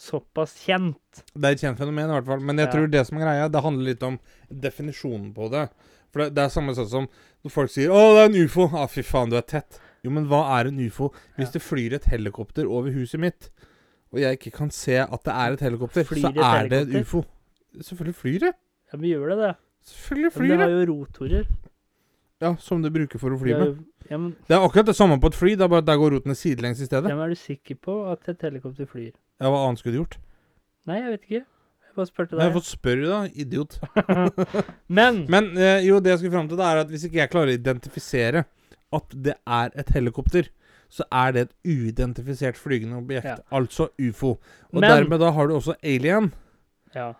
[SPEAKER 1] Såpass kjent.
[SPEAKER 2] Det er et kjent fenomen, i hvert fall. Men jeg
[SPEAKER 1] Ja.
[SPEAKER 2] tror det som er greia, det handler litt om definisjonen på det. For det, det er samme sånn som når folk sier 'Å, det er en ufo'. ah, fy faen, du er tett'. Jo, men hva er en ufo? Hvis det flyr et helikopter over huset mitt, og jeg ikke kan se at det er et helikopter,
[SPEAKER 1] Flyr
[SPEAKER 2] så
[SPEAKER 1] et
[SPEAKER 2] er det en
[SPEAKER 1] helikopter?
[SPEAKER 2] ufo. Selvfølgelig flyr det.
[SPEAKER 1] Ja, men gjør det det?
[SPEAKER 2] Selvfølgelig
[SPEAKER 1] Men det
[SPEAKER 2] flyr det.
[SPEAKER 1] har jo rotorer.
[SPEAKER 2] Ja, Som du bruker for å fly
[SPEAKER 1] Det har
[SPEAKER 2] med.
[SPEAKER 1] jo, ja, men
[SPEAKER 2] Det er akkurat det samme på et fly, det er bare at der går rotene sidelengs i stedet.
[SPEAKER 1] hvem er du sikker på at et helikopter flyr?
[SPEAKER 2] Ja, hva annet skulle du gjort?
[SPEAKER 1] Nei, jeg vet ikke. Jeg bare spurte
[SPEAKER 2] Men jeg
[SPEAKER 1] deg.
[SPEAKER 2] har fått spørre, da, idiot.
[SPEAKER 1] Men
[SPEAKER 2] Men eh, jo, det jeg skulle fram til, det er at hvis ikke jeg klarer å identifisere at det er et helikopter, så er det et uidentifisert flygende objekt,
[SPEAKER 1] Ja.
[SPEAKER 2] altså ufo. Og
[SPEAKER 1] Men-
[SPEAKER 2] dermed da har du også alien.
[SPEAKER 1] Ja.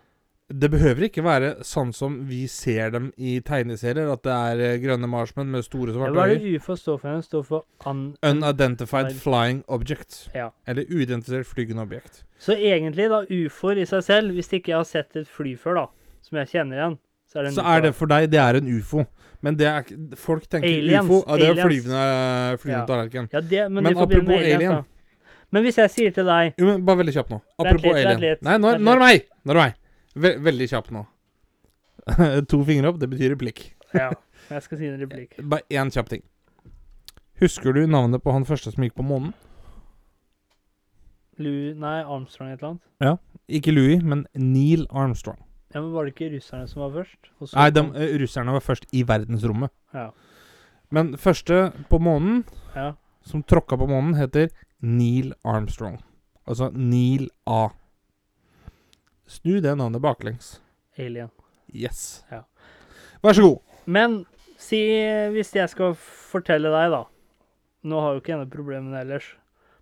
[SPEAKER 2] Det behøver ikke være sånn som vi ser dem i tegneserier, at det er eh, grønne marsmenn med store
[SPEAKER 1] Ja,
[SPEAKER 2] svarte
[SPEAKER 1] Hva er
[SPEAKER 2] øyne.
[SPEAKER 1] det UFO står for? Den står for an...
[SPEAKER 2] Unidentified
[SPEAKER 1] Nei.
[SPEAKER 2] flying object.
[SPEAKER 1] Ja.
[SPEAKER 2] Eller uidentifisert flygende objekt.
[SPEAKER 1] Så egentlig, da, ufoer i seg selv, hvis ikke jeg har sett et fly før, da, som jeg kjenner igjen, så er det en
[SPEAKER 2] Så
[SPEAKER 1] ufo.
[SPEAKER 2] er det for deg, det er en ufo. Men det er ikke Folk tenker
[SPEAKER 1] Aliens,
[SPEAKER 2] ufo. Ja, det er
[SPEAKER 1] aliens.
[SPEAKER 2] flyvende, eh, flyvende
[SPEAKER 1] Ja.
[SPEAKER 2] tallerken.
[SPEAKER 1] Ja, det, men,
[SPEAKER 2] Men
[SPEAKER 1] det forbinder med
[SPEAKER 2] apropos
[SPEAKER 1] aliens,
[SPEAKER 2] alien.
[SPEAKER 1] Da. Men hvis jeg sier til deg
[SPEAKER 2] Jo, men bare veldig kjapt nå.
[SPEAKER 1] Vent
[SPEAKER 2] Apropos
[SPEAKER 1] litt, vent
[SPEAKER 2] alien.
[SPEAKER 1] litt,
[SPEAKER 2] Nei, nå er
[SPEAKER 1] vent
[SPEAKER 2] nå er det meg! Nå er det meg. Ve veldig kjapt nå. to fingre opp, det betyr replikk.
[SPEAKER 1] Ja, jeg skal si en replikk.
[SPEAKER 2] Bare én kjapp ting. Husker du navnet på han første som gikk på månen?
[SPEAKER 1] Lou Nei, Armstrong et eller annet.
[SPEAKER 2] Ikke Louis, men Neil Armstrong.
[SPEAKER 1] Ja, men Var det ikke russerne som var først? Og så
[SPEAKER 2] Nei, de,
[SPEAKER 1] kom-
[SPEAKER 2] eh, russerne var først i verdensrommet.
[SPEAKER 1] Ja.
[SPEAKER 2] Men første på månen,
[SPEAKER 1] ja.
[SPEAKER 2] som tråkka på månen, heter Neil Armstrong. Altså Neil A. Snu det navnet baklengs.
[SPEAKER 1] Alien.
[SPEAKER 2] Yes.
[SPEAKER 1] Ja.
[SPEAKER 2] Vær så god.
[SPEAKER 1] Men si hvis jeg skal fortelle deg, da Nå har jo ikke jeg noe problem med det ellers,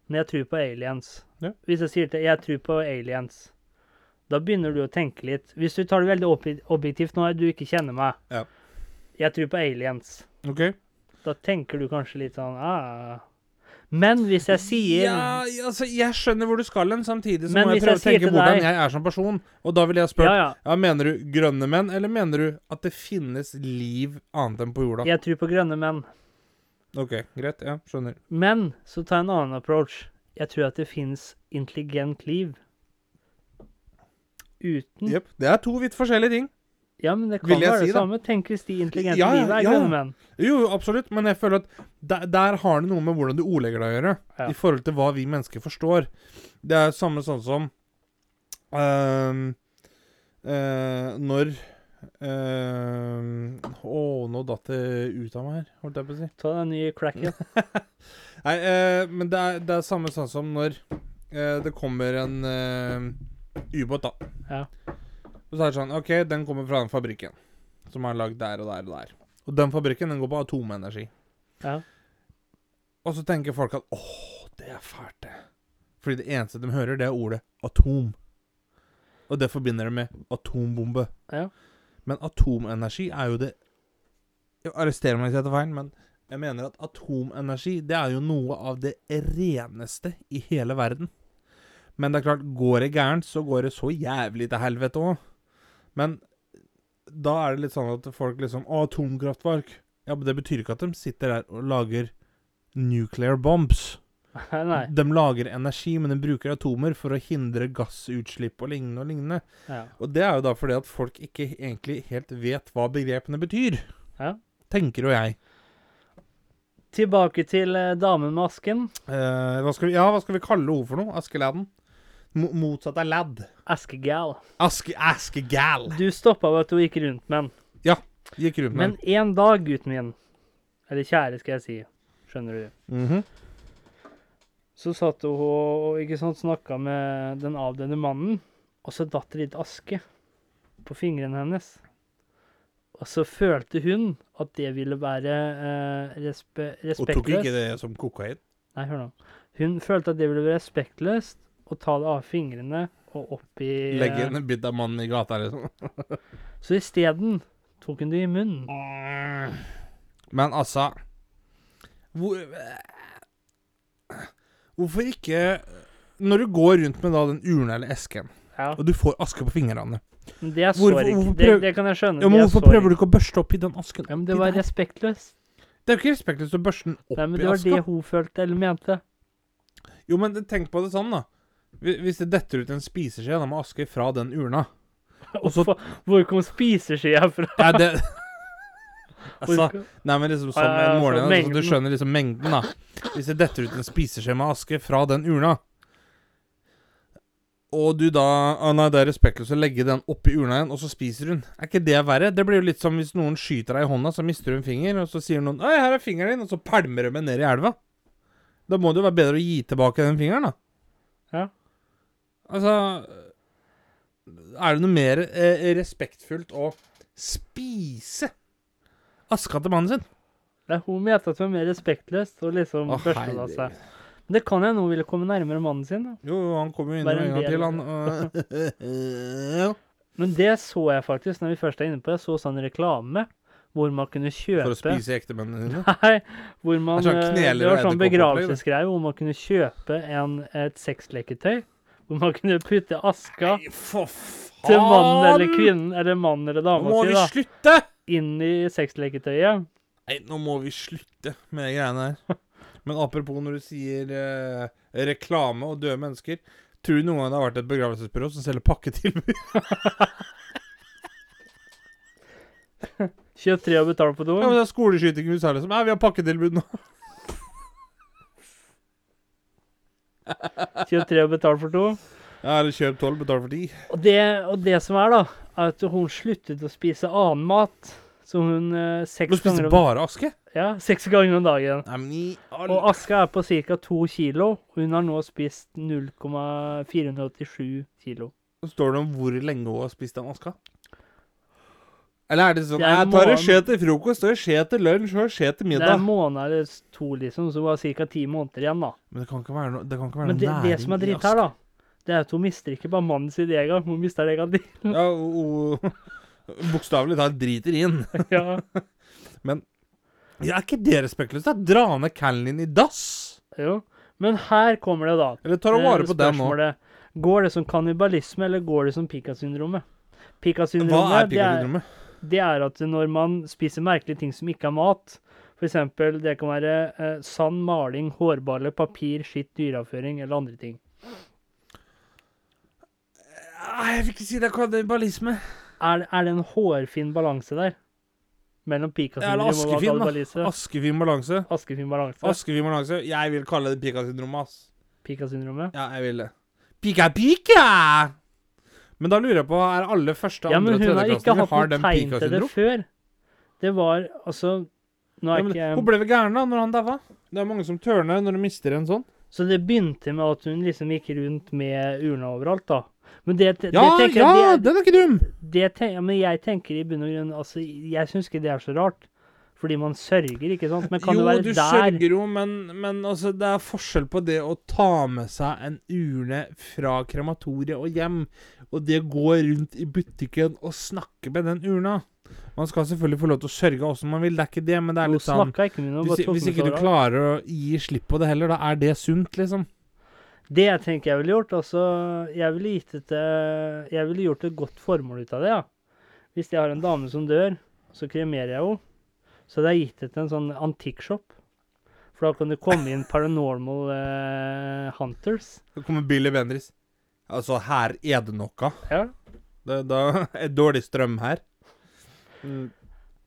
[SPEAKER 1] men jeg tror på aliens.
[SPEAKER 2] Ja.
[SPEAKER 1] Hvis jeg sier til jeg tror på aliens, da begynner du å tenke litt. Hvis du tar det veldig obje- objektivt nå, du ikke kjenner meg.
[SPEAKER 2] Ja.
[SPEAKER 1] Jeg tror på aliens.
[SPEAKER 2] OK.
[SPEAKER 1] Da tenker du kanskje litt sånn ah. Men hvis jeg sier
[SPEAKER 2] Ja, altså, jeg skjønner hvor du skal hen, samtidig så
[SPEAKER 1] Men
[SPEAKER 2] må jeg
[SPEAKER 1] hvis
[SPEAKER 2] prøve
[SPEAKER 1] jeg
[SPEAKER 2] å
[SPEAKER 1] sier
[SPEAKER 2] tenke
[SPEAKER 1] til
[SPEAKER 2] hvordan
[SPEAKER 1] deg-
[SPEAKER 2] jeg er som person. Og da ville jeg spurt
[SPEAKER 1] ja,
[SPEAKER 2] ja,
[SPEAKER 1] ja,
[SPEAKER 2] Mener du grønne menn, eller mener du at det finnes liv annet enn på jorda?
[SPEAKER 1] jeg tror på grønne menn.
[SPEAKER 2] OK, greit. Ja, skjønner.
[SPEAKER 1] Men så ta en annen approach. Jeg tror at det finnes intelligent liv. Uten
[SPEAKER 2] Jepp. Det er to vidt forskjellige ting.
[SPEAKER 1] Ja, men det kan
[SPEAKER 2] Vil jeg
[SPEAKER 1] være
[SPEAKER 2] si,
[SPEAKER 1] det
[SPEAKER 2] da.
[SPEAKER 1] samme. Tenk hvis de intelligente
[SPEAKER 2] Ja, ja,
[SPEAKER 1] livet er
[SPEAKER 2] ja, ja.
[SPEAKER 1] grønne menn.
[SPEAKER 2] Jo, jo, absolutt, men jeg føler at der, der har det noe med hvordan du ordlegger deg å gjøre.
[SPEAKER 1] Ja.
[SPEAKER 2] I forhold til hva vi mennesker forstår. Det er samme sånn som ehm, eh, Når ehm, Å, nå datt det ut av meg her, holdt jeg på å si.
[SPEAKER 1] Ta den nye cracken.
[SPEAKER 2] Nei, eh, men det er, det er samme sånn som når eh, det kommer en eh, ubåt, da.
[SPEAKER 1] Ja.
[SPEAKER 2] Og så er det sånn OK, den kommer fra den fabrikken som er lagd der og der og der. Og den fabrikken den går på atomenergi.
[SPEAKER 1] Ja.
[SPEAKER 2] Og så tenker folk at åh, det er fælt, det. Fordi det eneste de hører, det er ordet atom. Og det forbinder de med atombombe.
[SPEAKER 1] Ja.
[SPEAKER 2] Men atomenergi er jo det Jo, Arrester meg hvis jeg tar feil, men jeg mener at atomenergi det er jo noe av det reneste i hele verden. Men det er klart, går det gærent, så går det så jævlig til helvete òg. Men da er det litt sånn at folk liksom Å, atomkraftverk. Ja, men det betyr ikke at de sitter der og lager nuclear bombs.
[SPEAKER 1] Nei.
[SPEAKER 2] De lager energi, men de bruker atomer for å hindre gassutslipp og lignende og lignende.
[SPEAKER 1] Ja.
[SPEAKER 2] Og det er jo da fordi at folk ikke egentlig helt vet hva begrepene betyr.
[SPEAKER 1] Ja.
[SPEAKER 2] Tenker jo jeg.
[SPEAKER 1] Tilbake til eh, damen med asken.
[SPEAKER 2] Eh, hva skal vi, ja, hva skal vi kalle henne for noe? Askeladden? Mo- Motsatt av lad.
[SPEAKER 1] Askegal.
[SPEAKER 2] Aske, askegal.
[SPEAKER 1] Du stoppa ved at hun gikk rundt med den.
[SPEAKER 2] Gikk rundt med
[SPEAKER 1] Men en dag, gutten min, eller kjære, skal jeg si, skjønner du,
[SPEAKER 2] den. Mhm.
[SPEAKER 1] så satt hun og ikke sant, snakka med den avdøde mannen, og så datt det litt aske på fingrene hennes. Og så følte hun at det ville være eh, respe
[SPEAKER 2] Og tok ikke
[SPEAKER 1] respektløst.
[SPEAKER 2] det som kokain?
[SPEAKER 1] Nei, hør nå. Hun følte at det ville være respektløst å ta det av fingrene og opp i eh,
[SPEAKER 2] Legge en bit av mannen i gata, liksom?
[SPEAKER 1] Så isteden tok hun det i munnen.
[SPEAKER 2] Men altså hvor, Hvorfor ikke Når du går rundt med da den urna eller esken,
[SPEAKER 1] Ja,
[SPEAKER 2] og du får aske på fingrene
[SPEAKER 1] men Det er
[SPEAKER 2] Hvorfor-
[SPEAKER 1] sorg.
[SPEAKER 2] hvorfor
[SPEAKER 1] Det,
[SPEAKER 2] prøv-
[SPEAKER 1] det kan jeg skjønne.
[SPEAKER 2] ja,
[SPEAKER 1] Det
[SPEAKER 2] men
[SPEAKER 1] er
[SPEAKER 2] Hvorfor
[SPEAKER 1] sorg.
[SPEAKER 2] prøver du ikke å børste opp i den asken?
[SPEAKER 1] Ja, men
[SPEAKER 2] oppi
[SPEAKER 1] Det var
[SPEAKER 2] der?
[SPEAKER 1] respektløst.
[SPEAKER 2] det er jo ikke respektløst å børste den opp
[SPEAKER 1] Nei, men
[SPEAKER 2] i
[SPEAKER 1] Det var
[SPEAKER 2] aska.
[SPEAKER 1] det hun følte eller mente.
[SPEAKER 2] Jo, men tenk på det sånn, da. Hvi- Hvis det detter ut en spiseskje da, med aske fra den urna Og så-
[SPEAKER 1] Hvorfor- Hvor kom spiseskjea fra?
[SPEAKER 2] Er det Altså,
[SPEAKER 1] Hvor-
[SPEAKER 2] Nei, men liksom som
[SPEAKER 1] Ja, ja, ja,
[SPEAKER 2] en
[SPEAKER 1] så
[SPEAKER 2] måler, så du
[SPEAKER 1] mengden.
[SPEAKER 2] skjønner liksom mengden, da. Hvis det detter ut en spiseskje med aske fra den urna, og du da ah, Nei, det er respektløst å legge den oppi urna igjen, og så spiser hun. Er ikke det verre? Det blir jo litt som hvis noen skyter deg i hånda, så mister du en finger, og så sier noen 'Øy, her er fingeren din', og så pælmer de den ned i elva. Da må det jo være bedre å gi tilbake den fingeren, da.
[SPEAKER 1] Ja.
[SPEAKER 2] Altså Er det noe mer eh, respektfullt å spise aska til mannen sin?
[SPEAKER 1] Nei, hun mente at det var mer respektløst og liksom
[SPEAKER 2] Å,
[SPEAKER 1] børstet av seg.
[SPEAKER 2] herregud.
[SPEAKER 1] Men det kan hende hun ville komme nærmere mannen sin. da.
[SPEAKER 2] Jo, jo, han kommer jo
[SPEAKER 1] Bare
[SPEAKER 2] innom
[SPEAKER 1] en
[SPEAKER 2] en gang til,
[SPEAKER 1] del.
[SPEAKER 2] han. og-
[SPEAKER 1] Men det så jeg faktisk, når vi først er inne på det, jeg så sånn reklame hvor man kunne kjøpe
[SPEAKER 2] For å spise ektemennene dine?
[SPEAKER 1] Nei, hvor man
[SPEAKER 2] Det er sånn
[SPEAKER 1] eh, Det var
[SPEAKER 2] kneler og
[SPEAKER 1] sånn
[SPEAKER 2] edderkoppopplegg, det.
[SPEAKER 1] begravelsesgreie hvor man kunne kjøpe en, et sexleketøy. Hvor man kunne putte aska
[SPEAKER 2] For faen!
[SPEAKER 1] til mannen eller kvinnen, eller mannen eller
[SPEAKER 2] Nå
[SPEAKER 1] dama
[SPEAKER 2] må
[SPEAKER 1] si,
[SPEAKER 2] vi
[SPEAKER 1] da,
[SPEAKER 2] slutte!
[SPEAKER 1] inn i sexleketøyet.
[SPEAKER 2] Nei, nå må vi slutte med de greiene her. Men apropos når du sier eh, reklame og døde mennesker. Tror du noen gang det har vært et begravelsesbyrå som selger pakketilbud?
[SPEAKER 1] Kjøp tre og betal på do.
[SPEAKER 2] Ja, men det er skoleskyting i USA, liksom. Nei, vi har pakketilbud nå.
[SPEAKER 1] Kjøp tre og betal for to.
[SPEAKER 2] Ja, eller kjøp tolv, betal for ti.
[SPEAKER 1] Og det, og det som er, da, er at hun sluttet å spise annen mat. Så hun eh,
[SPEAKER 2] Du
[SPEAKER 1] seks,
[SPEAKER 2] spiser
[SPEAKER 1] ganger om,
[SPEAKER 2] bare aske?
[SPEAKER 1] ja, seks ganger om dagen.
[SPEAKER 2] Nei, men i all
[SPEAKER 1] Og aska er på ca. to kilo. og Hun har nå spist 0,487 kilo.
[SPEAKER 2] Så står det om hvor lenge hun har spist den aska. Eller er det sånn
[SPEAKER 1] Det er
[SPEAKER 2] Jeg tar en
[SPEAKER 1] morgen-
[SPEAKER 2] skje til frokost, og en skje til lunsj, og en skje til
[SPEAKER 1] Det er en
[SPEAKER 2] middag.
[SPEAKER 1] måned eller to, liksom, så hun har ca. ti måneder igjen, da.
[SPEAKER 2] Men det kan ikke være noe, det kan ikke være
[SPEAKER 1] Men
[SPEAKER 2] noe
[SPEAKER 1] det, det som er
[SPEAKER 2] næring i
[SPEAKER 1] dritt her, da, det er at hun mister ikke bare mannen sin en gang, hun mister deg en gang.
[SPEAKER 2] aska. Ja, og, og bokstavelig talt driter inn.
[SPEAKER 1] Ja.
[SPEAKER 2] Ja, er ikke det respektløst? da? Dra ned callen din i dass!
[SPEAKER 1] Jo. Men her kommer det, da.
[SPEAKER 2] Eller tar du vare på den nå?
[SPEAKER 1] Spørsmålet, Går det som kannibalisme, eller går det som Pika-syndromet?
[SPEAKER 2] Hva er
[SPEAKER 1] Pika-syndromet, det, er-
[SPEAKER 2] pikkerudrommet?
[SPEAKER 1] det er at når man spiser merkelige ting som ikke er mat, f.eks. det kan være eh, sand, maling, hårballer, papir, skitt, dyreavføring eller andre ting.
[SPEAKER 2] Nei, Jeg vil ikke si det er kannibalisme.
[SPEAKER 1] Er, er det en hårfin balanse der? Mellom
[SPEAKER 2] Eller
[SPEAKER 1] Pika-syndrom og
[SPEAKER 2] askefin, da.
[SPEAKER 1] kannibalisme?
[SPEAKER 2] Askefin balanse.
[SPEAKER 1] Askefin balanse.
[SPEAKER 2] Askefin balanse. Jeg vil kalle det pikkerudrommet, ass.
[SPEAKER 1] Pika-syndromet.
[SPEAKER 2] Ja, jeg vil det. Pika, pika! Men da lurer jeg på, er alle første,
[SPEAKER 1] Ja, men
[SPEAKER 2] andre og
[SPEAKER 1] hun
[SPEAKER 2] tredje
[SPEAKER 1] har ikke
[SPEAKER 2] klassen
[SPEAKER 1] hatt
[SPEAKER 2] har
[SPEAKER 1] noe
[SPEAKER 2] den
[SPEAKER 1] tegn til det
[SPEAKER 2] pika-syndrom?
[SPEAKER 1] før. Det var altså Nå
[SPEAKER 2] Ja,
[SPEAKER 1] er
[SPEAKER 2] men
[SPEAKER 1] ikke
[SPEAKER 2] hun ble vel gæren da, når han daua? Det er mange som tørner når de mister en sånn.
[SPEAKER 1] Så det begynte med at hun liksom gikk rundt med urna overalt, da. Men det, det,
[SPEAKER 2] Ja,
[SPEAKER 1] det tenker
[SPEAKER 2] ja,
[SPEAKER 1] jeg det,
[SPEAKER 2] den er ikke dum!
[SPEAKER 1] det ten, ja, Men jeg tenker i bunn og grunn Altså, jeg syns ikke det er så rart. Fordi man sørger, ikke sant? Men kan
[SPEAKER 2] jo,
[SPEAKER 1] det være
[SPEAKER 2] du
[SPEAKER 1] der
[SPEAKER 2] sørger jo, men, men altså, det er forskjell på det å ta med seg en urne fra krematoriet og hjem, og det å gå rundt i butikken og snakke med den urna. Man skal selvfølgelig få lov til å sørge åssen man vil, det er ikke det, men det er
[SPEAKER 1] Hun
[SPEAKER 2] litt sånn
[SPEAKER 1] snakka ikke med noen, hun
[SPEAKER 2] hvis,
[SPEAKER 1] bare tok
[SPEAKER 2] hvis
[SPEAKER 1] med
[SPEAKER 2] ikke
[SPEAKER 1] seg
[SPEAKER 2] du
[SPEAKER 1] overalt.
[SPEAKER 2] klarer å gi slipp på det heller, da er det sunt, liksom.
[SPEAKER 1] Det jeg tenker jeg ville gjort, altså Jeg ville gitt det til Jeg ville gjort et godt formål ut av det, ja. Hvis jeg har en dame som dør, så kremerer jeg henne. Så hadde jeg gitt det til en sånn antikkshop. For da kan det komme inn paranormal eh, hunters.
[SPEAKER 2] Så kommer Billy Bendriss. Altså, her er det noe.
[SPEAKER 1] Ja.
[SPEAKER 2] Det, da er dårlig strøm her.
[SPEAKER 1] Men når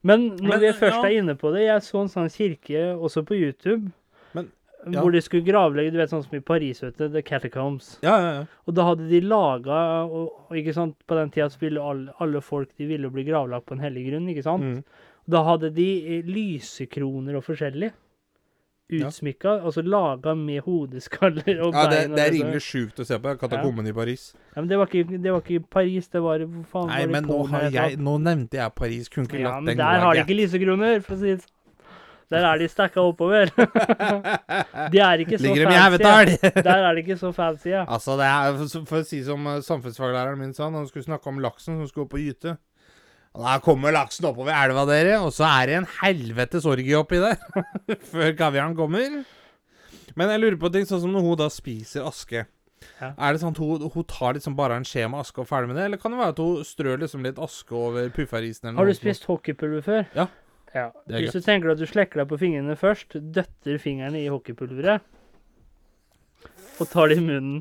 [SPEAKER 2] Men,
[SPEAKER 1] Mm. vi først
[SPEAKER 2] ja.
[SPEAKER 1] er inne på det, jeg så en sånn kirke også på YouTube.
[SPEAKER 2] Men- Ja.
[SPEAKER 1] Hvor de skulle gravlegge, du vet sånn som i Paris, vet du, The Catacombs.
[SPEAKER 2] Ja, ja, ja.
[SPEAKER 1] Og da hadde de laga og, og ikke sant, På den tida så ville alle, alle folk de ville bli gravlagt på en hellig grunn, ikke sant?
[SPEAKER 2] Mm.
[SPEAKER 1] Da hadde de eh, lysekroner og forskjellig.
[SPEAKER 2] Ja.
[SPEAKER 1] Utsmykka, altså laga med hodeskaller og
[SPEAKER 2] ja det,
[SPEAKER 1] bein. og
[SPEAKER 2] det er
[SPEAKER 1] sånn.
[SPEAKER 2] rimelig sjukt å se på. Katakomben i Paris.
[SPEAKER 1] ja, men det, var ikke, det var ikke i Paris, det var Hvor faen
[SPEAKER 2] Nei,
[SPEAKER 1] var det
[SPEAKER 2] men
[SPEAKER 1] i
[SPEAKER 2] nå,
[SPEAKER 1] Polen
[SPEAKER 2] har
[SPEAKER 1] eller et
[SPEAKER 2] jeg, nå nevnte jeg Paris. Kunne ikke
[SPEAKER 1] Ja,
[SPEAKER 2] latt
[SPEAKER 1] men
[SPEAKER 2] den
[SPEAKER 1] der har de
[SPEAKER 2] gå.
[SPEAKER 1] ikke lysekroner, for å si det sånn. Der er de stacka oppover. de er ikke så
[SPEAKER 2] Ligger dem i
[SPEAKER 1] fancy.
[SPEAKER 2] Haugetdal!
[SPEAKER 1] Der er de ikke så fancy, ja.
[SPEAKER 2] Altså, det er, for- for å si som eh, samfunnsfaglæreren min sa, når han skulle snakke om laksen som skulle opp og gyte. Og Der kommer laksen oppover elva, dere, og så er det en helvetes orgie oppi der. Før kaviaren kommer. Men jeg lurer på ting, sånn som når hun da spiser aske.
[SPEAKER 1] Ja.
[SPEAKER 2] Er det sånn at hun, hun tar liksom bare en skje med aske og ferdig med det, eller kan det være at hun strør liksom litt aske over pufferisen eller
[SPEAKER 1] Har
[SPEAKER 2] noe
[SPEAKER 1] du spist hockeypulver før?
[SPEAKER 2] Ja.
[SPEAKER 1] ja.
[SPEAKER 2] Det er
[SPEAKER 1] Hvis du tenker deg at du slekker deg på fingrene først, døtter fingrene i hockeypulveret og tar det i munnen.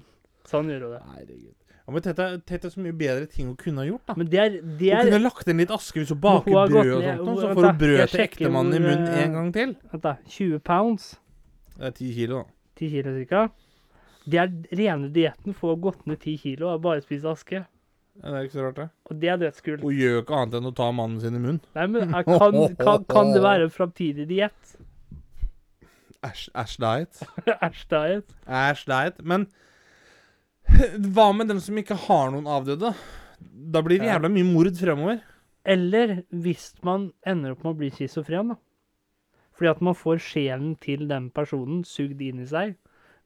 [SPEAKER 1] Sånn gjør hun det.
[SPEAKER 2] Herregud. Ja, men Tete, Tete er så mye bedre ting hun kunne ha gjort, da.
[SPEAKER 1] Men det er, det er
[SPEAKER 2] Hun kunne lagt inn litt aske hvis hun
[SPEAKER 1] hun
[SPEAKER 2] baker
[SPEAKER 1] har gått
[SPEAKER 2] brød og
[SPEAKER 1] ned-
[SPEAKER 2] sånt,
[SPEAKER 1] hun-
[SPEAKER 2] og så
[SPEAKER 1] vent da,
[SPEAKER 2] får hun brødet
[SPEAKER 1] jeg
[SPEAKER 2] til
[SPEAKER 1] sjekker
[SPEAKER 2] ektemannen i
[SPEAKER 1] hvor,
[SPEAKER 2] munnen
[SPEAKER 1] eh,
[SPEAKER 2] en gang til.
[SPEAKER 1] Vent, da. 20 pounds,
[SPEAKER 2] Det er ti kilo, da.
[SPEAKER 1] 10 kilo cirka. Det er rene dietten for å ha gått ned 10 kilo og bare spise aske.
[SPEAKER 2] Ja, det er ikke så rart, det.
[SPEAKER 1] Og det er dødskult.
[SPEAKER 2] Hun gjør jo ikke annet enn å ta mannen sin i munnen.
[SPEAKER 1] Nei, men er- kan, kan, kan det være en framtidig diett?
[SPEAKER 2] Æsj, æsj, diet.
[SPEAKER 1] Æsj, diet.
[SPEAKER 2] Æsj, diet. Men hva med dem som ikke har noen avdøde? Da blir det
[SPEAKER 1] Ja.
[SPEAKER 2] jævla mye mord fremover.
[SPEAKER 1] Eller hvis man ender opp med å bli schizofren, da. Fordi at man får sjelen til den personen sugd inn i seg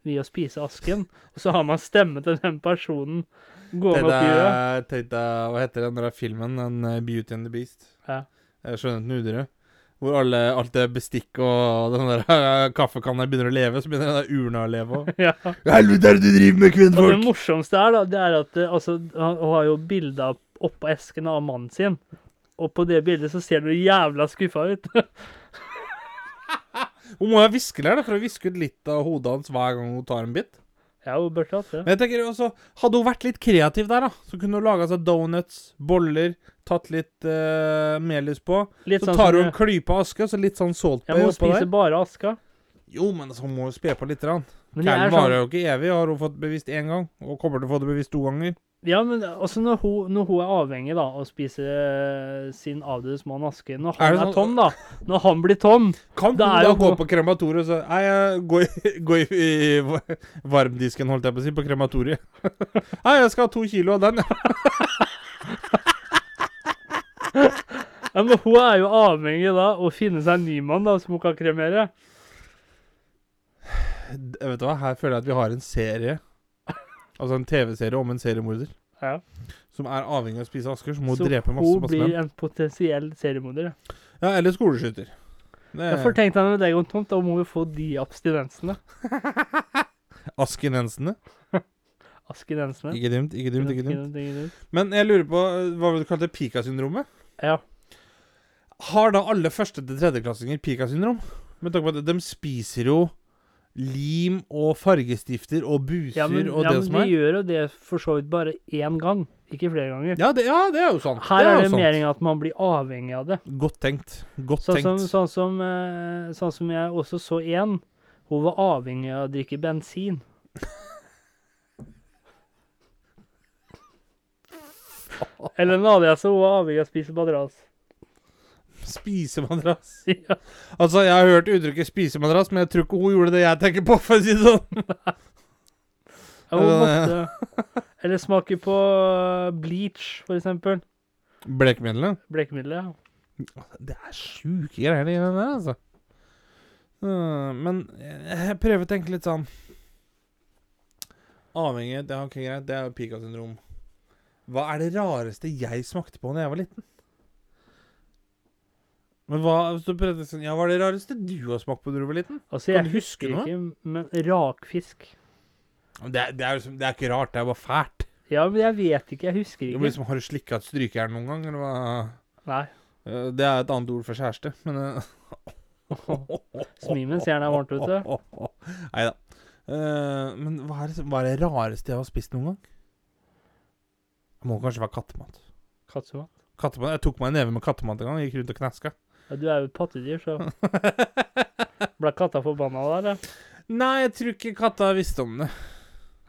[SPEAKER 1] ved å spise asken. Og så har man stemmen til den personen gående opp i øret.
[SPEAKER 2] Tenkte, tenkte, eh, hva heter den der filmen? Den eh, Beauty and the Beast?
[SPEAKER 1] Ja.
[SPEAKER 2] Eh, Skjønnheten og udyret. Hvor alle, alt det bestikk og den der eh, kaffekanna begynner å leve, så begynner den der urna å leve òg.
[SPEAKER 1] Ja.
[SPEAKER 2] Helvete er det du driver med,
[SPEAKER 1] Og det morsomste er, da, det er at eh, altså, han hun har jo bilder oppå esken av mannen sin. Og på det bildet så ser du jævla skuffa ut.
[SPEAKER 2] Hun må ha viskelær da, for å viske ut litt av hodet hans hver gang hun tar en bit.
[SPEAKER 1] ja, hun burde hatt det.
[SPEAKER 2] Men jeg tenker også, Hadde hun vært litt kreativ der, da, så kunne hun laga seg donuts, boller, tatt litt eh, melis på.
[SPEAKER 1] Litt
[SPEAKER 2] så
[SPEAKER 1] sånn
[SPEAKER 2] tar
[SPEAKER 1] som
[SPEAKER 2] hun en
[SPEAKER 1] hun,
[SPEAKER 2] klype aske og så litt sånn
[SPEAKER 1] ja,
[SPEAKER 2] saltbøy
[SPEAKER 1] men hun
[SPEAKER 2] oppå
[SPEAKER 1] spiser
[SPEAKER 2] der.
[SPEAKER 1] bare aska.
[SPEAKER 2] Jo, men så må hun spe på litt. grann.
[SPEAKER 1] Men jeg
[SPEAKER 2] Kvelden
[SPEAKER 1] er sånn
[SPEAKER 2] varer jo ikke evig, har hun fått bevisst én gang. Og kommer til å få det bevisst to ganger.
[SPEAKER 1] Ja, men altså når hun, når hun er avhengig da, av å spise eh, sin avdødes mann aske Når han
[SPEAKER 2] Er det
[SPEAKER 1] er,
[SPEAKER 2] sånn-
[SPEAKER 1] tom, da. Når han blir tom.
[SPEAKER 2] Kan hun
[SPEAKER 1] Da er
[SPEAKER 2] da
[SPEAKER 1] jo
[SPEAKER 2] gå
[SPEAKER 1] hun-
[SPEAKER 2] på krematoriet og så Nei, jeg går i, går i, i varmdisken, holdt jeg på å si, på krematoriet. Nei, jeg skal ha to kilo av den.
[SPEAKER 1] Ja, men hun er jo avhengig da å finne seg en ny mann da, som hun kan kremere.
[SPEAKER 2] D- Vet du hva, her føler jeg at vi har en serie. Altså en TV-serie om en seriemorder.
[SPEAKER 1] Ja.
[SPEAKER 2] Som er avhengig av å spise asker, som må
[SPEAKER 1] Så
[SPEAKER 2] drepe masse,
[SPEAKER 1] hun
[SPEAKER 2] masse
[SPEAKER 1] blir
[SPEAKER 2] menn.
[SPEAKER 1] en potensiell seriemorder. ja.
[SPEAKER 2] Ja, eller skoleskyter. Det
[SPEAKER 1] Jeg får
[SPEAKER 2] er
[SPEAKER 1] tenkt deg når det går tomt, da må vi få de abstinensene.
[SPEAKER 2] Askenensene.
[SPEAKER 1] Askinensene.
[SPEAKER 2] Ikke dumt, ikke dumt, ikke dumt.
[SPEAKER 1] Askinensene, ikke dumt.
[SPEAKER 2] Men jeg lurer på, eh, hva var det du kalte Pika-syndromet?
[SPEAKER 1] Ja.
[SPEAKER 2] Har da alle første- til tredjeklassinger Pika-syndrom? Med tanke på at de spiser jo lim og fargestifter og buser
[SPEAKER 1] Ja, men,
[SPEAKER 2] og
[SPEAKER 1] ja,
[SPEAKER 2] det
[SPEAKER 1] men
[SPEAKER 2] som
[SPEAKER 1] de
[SPEAKER 2] er.
[SPEAKER 1] gjør jo det for så vidt bare én gang, ikke flere ganger.
[SPEAKER 2] Ja det, ja, det er jo sant.
[SPEAKER 1] Her
[SPEAKER 2] det
[SPEAKER 1] er
[SPEAKER 2] jo
[SPEAKER 1] det
[SPEAKER 2] sant.
[SPEAKER 1] meningen at man blir avhengig av det.
[SPEAKER 2] Godt tenkt. Godt
[SPEAKER 1] Sånn som,
[SPEAKER 2] tenkt.
[SPEAKER 1] sånn, som, eh, sånn som jeg også så en, hun var avhengig av å drikke bensin. Eller Nadia, så hun var avhengig av å spise madras.
[SPEAKER 2] Spisemadrass.
[SPEAKER 1] Ja.
[SPEAKER 2] Altså, jeg har hørt uttrykket spisemadrass, men jeg tror ikke hun gjorde det jeg tenker på, for å si det sånn.
[SPEAKER 1] Ja, hun
[SPEAKER 2] Ja,
[SPEAKER 1] måtte, eller smake på eh, bleach, for eksempel.
[SPEAKER 2] Blekemiddelet.
[SPEAKER 1] Blekemiddelet. ja.
[SPEAKER 2] Det er sjuke greier, det greiene der, altså. Øh, Men jeg prøver å tenke litt sånn Avhengighet, ja, ok, greit, det er jo Pika-syndrom. Hva er det rareste jeg smakte på da jeg var liten? Men hva hvis du prøver, å tenke sånn, ja, hva er det rareste du har smakt på da du var liten?
[SPEAKER 1] Altså,
[SPEAKER 2] Kan
[SPEAKER 1] jeg
[SPEAKER 2] du huske
[SPEAKER 1] husker
[SPEAKER 2] noe?
[SPEAKER 1] ikke, men rakfisk.
[SPEAKER 2] Det er, det, er, jo som- det er ikke rart, det er bare fælt.
[SPEAKER 1] Ja, men jeg vet ikke, jeg husker
[SPEAKER 2] Det
[SPEAKER 1] ikke.
[SPEAKER 2] blir liksom, Har du slikka et strykejern noen gang? Eller hva?
[SPEAKER 1] Nei.
[SPEAKER 2] Eh, Det er et annet ord for kjæreste, men eh,
[SPEAKER 1] Smi mens jernet er varmt ute.
[SPEAKER 2] Nei da. Eh, men hva er, det, som- hva er det rareste jeg har spist noen gang? Det må kanskje være kattemat.
[SPEAKER 1] Kattemat.
[SPEAKER 2] kattemat. Jeg tok meg en neve med kattemat en gang. Gikk rundt og knaska.
[SPEAKER 1] Ja, du er jo et pattedyr, så ble katta forbanna der, eller?
[SPEAKER 2] Nei, jeg tror ikke katta visste om det.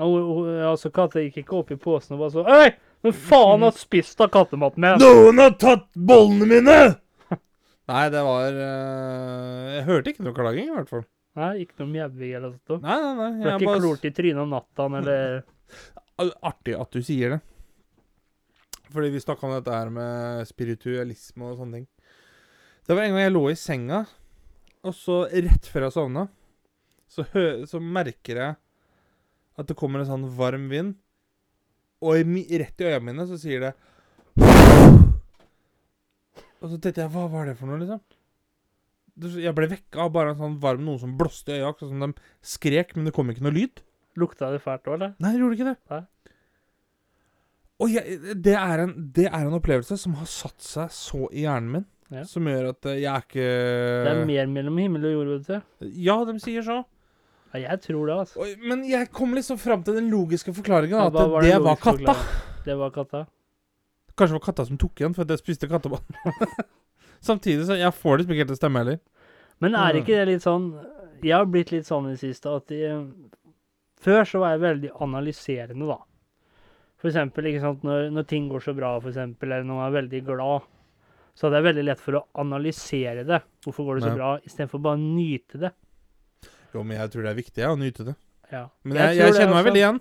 [SPEAKER 1] Ja, hun- hun- Altså, katta gikk ikke opp i posen og bare så Hei! Men faen har spist av kattematen min!
[SPEAKER 2] Noen har tatt bollene mine! Nei, det var eh, Jeg hørte ikke noe klaging, i hvert fall.
[SPEAKER 1] Nei, ikke noe mjauing eller noe sånt.
[SPEAKER 2] Nei, nei, nei.
[SPEAKER 1] Ble
[SPEAKER 2] jeg
[SPEAKER 1] ikke
[SPEAKER 2] bare-
[SPEAKER 1] klort i trynet om natta eller
[SPEAKER 2] Al- Artig at du sier det. Fordi vi snakka om dette her med spiritualisme og sånne ting. Det var en gang jeg lå i senga, og så rett før jeg sovna, så, hø så merker jeg at det kommer en sånn varm vind, og i mi rett i øya mine så sier det Og så tenkte jeg Hva var det for noe, liksom? Det- Jeg ble vekka av bare en sånn varm noen som blåste i øya, akkurat som de skrek, men det kom ikke noe lyd.
[SPEAKER 1] Lukta det fælt òg, eller?
[SPEAKER 2] Nei, jeg gjorde ikke det.
[SPEAKER 1] Nei.
[SPEAKER 2] Og jeg, det, er en, det er en opplevelse som har satt seg så i hjernen min,
[SPEAKER 1] Ja.
[SPEAKER 2] som gjør at eh, jeg er ikke
[SPEAKER 1] Det er mer mellom himmel og jord, vet du.
[SPEAKER 2] Ja, de sier så.
[SPEAKER 1] Ja, jeg tror det, altså.
[SPEAKER 2] Og, men jeg kom liksom fram til den logiske forklaringa,
[SPEAKER 1] Ja,
[SPEAKER 2] at
[SPEAKER 1] hva
[SPEAKER 2] det,
[SPEAKER 1] den
[SPEAKER 2] var
[SPEAKER 1] logiske
[SPEAKER 2] katta.
[SPEAKER 1] forklaringen? Det var katta.
[SPEAKER 2] Kanskje det var katta som tok igjen, for at jeg spiste kattebanen. Samtidig så jeg får liksom ikke helt til å stemme heller.
[SPEAKER 1] Men er
[SPEAKER 2] Mm.
[SPEAKER 1] ikke det litt sånn Jeg har blitt litt sånn i det siste at jeg, Før så var jeg veldig analyserende, da. For eksempel ikke sant, når, når ting går så bra, for eksempel, eller når man er veldig glad, så hadde jeg veldig lett for å analysere det. Hvorfor går det så
[SPEAKER 2] Ja.
[SPEAKER 1] bra? Istedenfor bare å nyte det.
[SPEAKER 2] Jo, men jeg tror det er viktig jeg, å nyte det.
[SPEAKER 1] Ja.
[SPEAKER 2] Men jeg, jeg,
[SPEAKER 1] tror det
[SPEAKER 2] kjenner meg
[SPEAKER 1] også.
[SPEAKER 2] veldig igjen.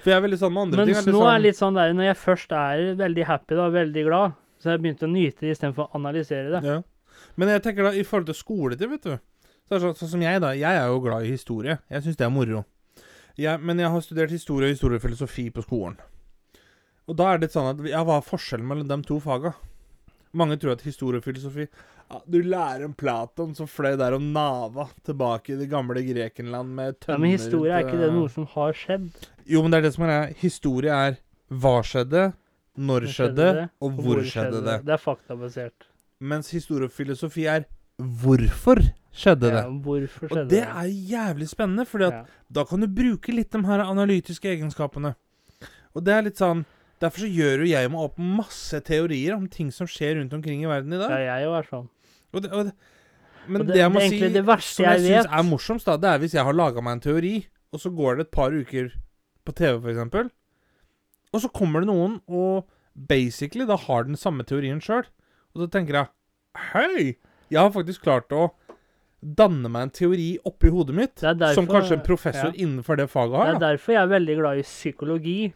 [SPEAKER 2] For jeg er veldig sånn med andre
[SPEAKER 1] Mens
[SPEAKER 2] ting. jeg er litt
[SPEAKER 1] nå er
[SPEAKER 2] sånn-
[SPEAKER 1] det litt sånn der, når jeg først er veldig happy, da, veldig glad, så har jeg begynt å nyte det istedenfor å analysere det.
[SPEAKER 2] Ja. Men jeg tenker da, i forhold til skoletid, vet du så er det sånn, sånn som jeg, da. Jeg er jo glad i historie. Jeg syns det er moro. Jeg, men jeg har studert historie og historiefilosofi på skolen. Og da er det litt sånn at ja, hva er forskjellen mellom de to faga? Mange tror at historie og filosofi ja, Du lærer om Platon som fløy der og nava tilbake i det gamle Grekenland med
[SPEAKER 1] Ja,
[SPEAKER 2] tønner eh,
[SPEAKER 1] men historie er ikke det
[SPEAKER 2] til-
[SPEAKER 1] noe som har skjedd.
[SPEAKER 2] Jo, men det er det som er greia. Historie er hva skjedde, når
[SPEAKER 1] Når skjedde
[SPEAKER 2] skjedde,
[SPEAKER 1] det,
[SPEAKER 2] og hvor skjedde det.
[SPEAKER 1] Det er faktabasert.
[SPEAKER 2] Mens historie og filosofi er hvorfor skjedde det?
[SPEAKER 1] Ja, hvorfor skjedde
[SPEAKER 2] Og det er jævlig spennende, fordi at
[SPEAKER 1] Ja.
[SPEAKER 2] da kan du bruke litt de her analytiske egenskapene. Og det er litt sånn Derfor så gjør jo jeg meg opp masse teorier om ting som skjer rundt omkring i verden i
[SPEAKER 1] Ja,
[SPEAKER 2] dag.
[SPEAKER 1] jeg er jo sånn.
[SPEAKER 2] Og det, og det, men
[SPEAKER 1] Og
[SPEAKER 2] det,
[SPEAKER 1] det-
[SPEAKER 2] jeg må
[SPEAKER 1] det er
[SPEAKER 2] si,
[SPEAKER 1] egentlig det verste
[SPEAKER 2] som jeg,
[SPEAKER 1] jeg
[SPEAKER 2] syns
[SPEAKER 1] vet.
[SPEAKER 2] er morsomst, da, det er hvis jeg har laga meg en teori, og så går det et par uker på TV, for eksempel, og så kommer det noen og basically da har den samme teorien sjøl, og da tenker jeg Hei! Jeg har faktisk klart å danne meg en teori oppi hodet mitt,
[SPEAKER 1] Det er derfor-
[SPEAKER 2] som kanskje en professor
[SPEAKER 1] ja.
[SPEAKER 2] innenfor det faget
[SPEAKER 1] Det
[SPEAKER 2] har.
[SPEAKER 1] er
[SPEAKER 2] Da.
[SPEAKER 1] derfor jeg er veldig glad i psykologi.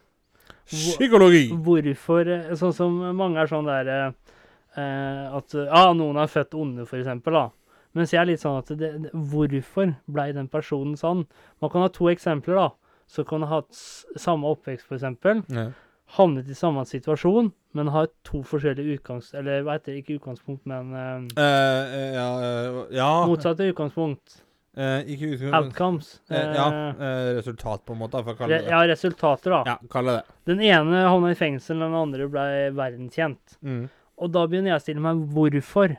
[SPEAKER 1] hvor-
[SPEAKER 2] Psykologi!
[SPEAKER 1] Hvorfor eh, Sånn som mange er sånn der eh, eh, At ja, noen er født onde, for eksempel, da. Mens jeg er litt sånn at det, det, Hvorfor blei den personen sånn? Man kan ha to eksempler, da. Så kan du ha hatt s- samme oppvekst, for eksempel.
[SPEAKER 2] Ja.
[SPEAKER 1] Havnet i samme situasjon, men har to forskjellige utgangs... Eller hva heter det? Ikke utgangspunkt, men eh,
[SPEAKER 2] Eh, eh, ja, eh, ja
[SPEAKER 1] Motsatte utgangspunkt.
[SPEAKER 2] eh, Ikke utgangspunkt.
[SPEAKER 1] Outcomes.
[SPEAKER 2] Eh, ja,
[SPEAKER 1] Eh,
[SPEAKER 2] eh, resultat, på en måte, for å kalle
[SPEAKER 1] Re
[SPEAKER 2] det det.
[SPEAKER 1] ja, resultater, da.
[SPEAKER 2] Ja, kall det det.
[SPEAKER 1] Den ene havna i fengsel, den andre ble verdenskjent.
[SPEAKER 2] Mm.
[SPEAKER 1] Og da begynner jeg å stille meg hvorfor.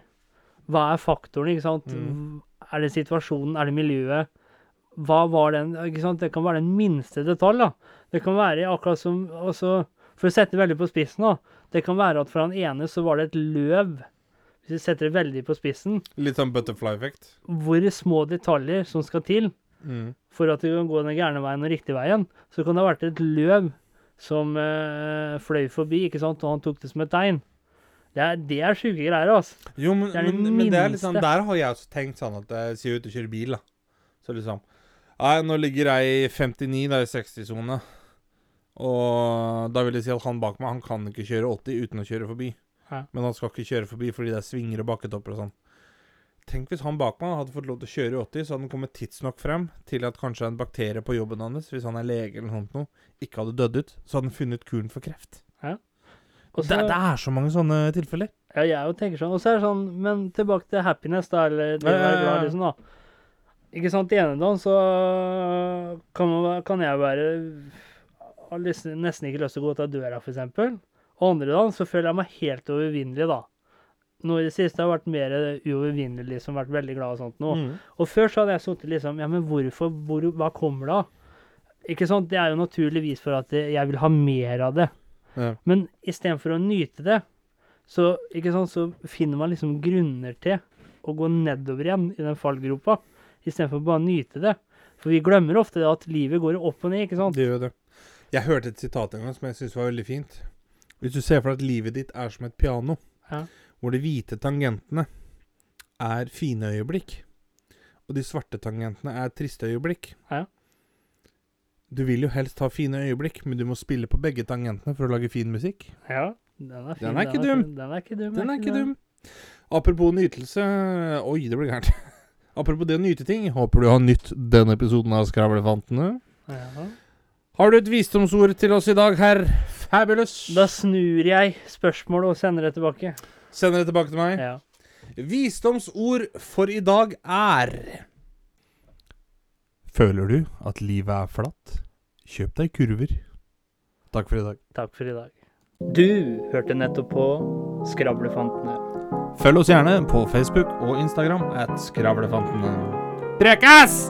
[SPEAKER 1] Hva er faktoren, ikke sant?
[SPEAKER 2] Mm.
[SPEAKER 1] Er det situasjonen, er det miljøet? Hva var den ikke sant? Det kan være den minste detalj, da. Det kan være akkurat som altså, For å sette det veldig på spissen, da. Det kan være at for han ene så var det et løv. Hvis vi setter det veldig på spissen.
[SPEAKER 2] Litt sånn butterfly-effekt.
[SPEAKER 1] Hvor små detaljer som skal til
[SPEAKER 2] Mm.
[SPEAKER 1] for at du kan gå den gærne veien og riktig veien, så kan det ha vært et løv som eh, fløy forbi, ikke sant, og han tok det som et tegn. Det er, det er sjuke greier, altså.
[SPEAKER 2] Jo, men,
[SPEAKER 1] Det er det
[SPEAKER 2] men, men det er liksom,
[SPEAKER 1] minste.
[SPEAKER 2] der har jeg også tenkt sånn at jeg sier ut og kjører bil, da. Så liksom Nei, nå ligger jeg i 59, da i 60-sone. Og da vil jeg si at han bak meg, han kan ikke kjøre 80 uten å kjøre forbi.
[SPEAKER 1] Ja.
[SPEAKER 2] Men han skal ikke kjøre forbi fordi det er svinger og bakketopper og sånn. Tenk hvis han bak meg hadde fått lov til å kjøre i 80, så hadde han kommet tidsnok frem til at kanskje en bakterie på jobben hans, hvis han er lege eller noe sånt noe, ikke hadde dødd ut. Så hadde han funnet kuren for kreft.
[SPEAKER 1] Og så-
[SPEAKER 2] det, det er så mange sånne tilfeller.
[SPEAKER 1] Ja, jeg jo tenker sånn. Og så er det sånn, men tilbake til happiness, da, eller det å
[SPEAKER 2] Ja, ja,
[SPEAKER 1] være
[SPEAKER 2] ja, ja.
[SPEAKER 1] glad, liksom, da. Ikke sant, i ene dagen så kan, man, være- kan jeg være har lyst- nesten ikke lyst til å gå ut av døra, for eksempel. Og andre dagen så føler jeg meg helt overvinnelig, da. Nå i det siste har jeg vært mer uovervinnelig, liksom, vært veldig glad og sånt nå.
[SPEAKER 2] Mm.
[SPEAKER 1] Og før så hadde jeg sittet liksom Ja, men hvorfor? Hvor, hva kommer det av? Ikke sant? Det er jo naturligvis for at eh, jeg vil ha mer av det.
[SPEAKER 2] Ja.
[SPEAKER 1] Men istedenfor å nyte det, så, ikke sant, så finner man liksom grunner til å gå nedover igjen i den fallgropa. Istedenfor bare å nyte det. For vi glemmer ofte det at livet går opp og ned, ikke sant?
[SPEAKER 2] Det gjør det. Jeg hørte et sitat en gang som jeg syntes var veldig fint. Hvis du ser for deg at livet ditt er som et piano,
[SPEAKER 1] Ja.
[SPEAKER 2] hvor de hvite tangentene er fine øyeblikk, og de svarte tangentene er triste øyeblikk
[SPEAKER 1] Ja.
[SPEAKER 2] Du vil jo helst ha fine øyeblikk, men du må spille på begge tangentene for å lage fin musikk.
[SPEAKER 1] Ja, den er fin.
[SPEAKER 2] Den er ikke dum.
[SPEAKER 1] fin, Den er ikke dum.
[SPEAKER 2] Den er ikke dum. Apropos nytelse Oi, det ble gærent. Apropos det å nyte ting, håper du har nytt denne episoden av Skravlefantene.
[SPEAKER 1] Ja.
[SPEAKER 2] Har du et visdomsord til oss i dag, herr Fabulous?
[SPEAKER 1] Da snur jeg spørsmålet og sender det tilbake.
[SPEAKER 2] Sender det tilbake til meg.
[SPEAKER 1] Ja.
[SPEAKER 2] Visdomsord for i dag er Føler du at livet er flatt? Kjøp deg kurver. Takk for i dag.
[SPEAKER 1] Takk for i dag. Du hørte nettopp på Skravlefantene.
[SPEAKER 2] Følg oss gjerne på Facebook og Instagram at Skravlefantene. Prekas!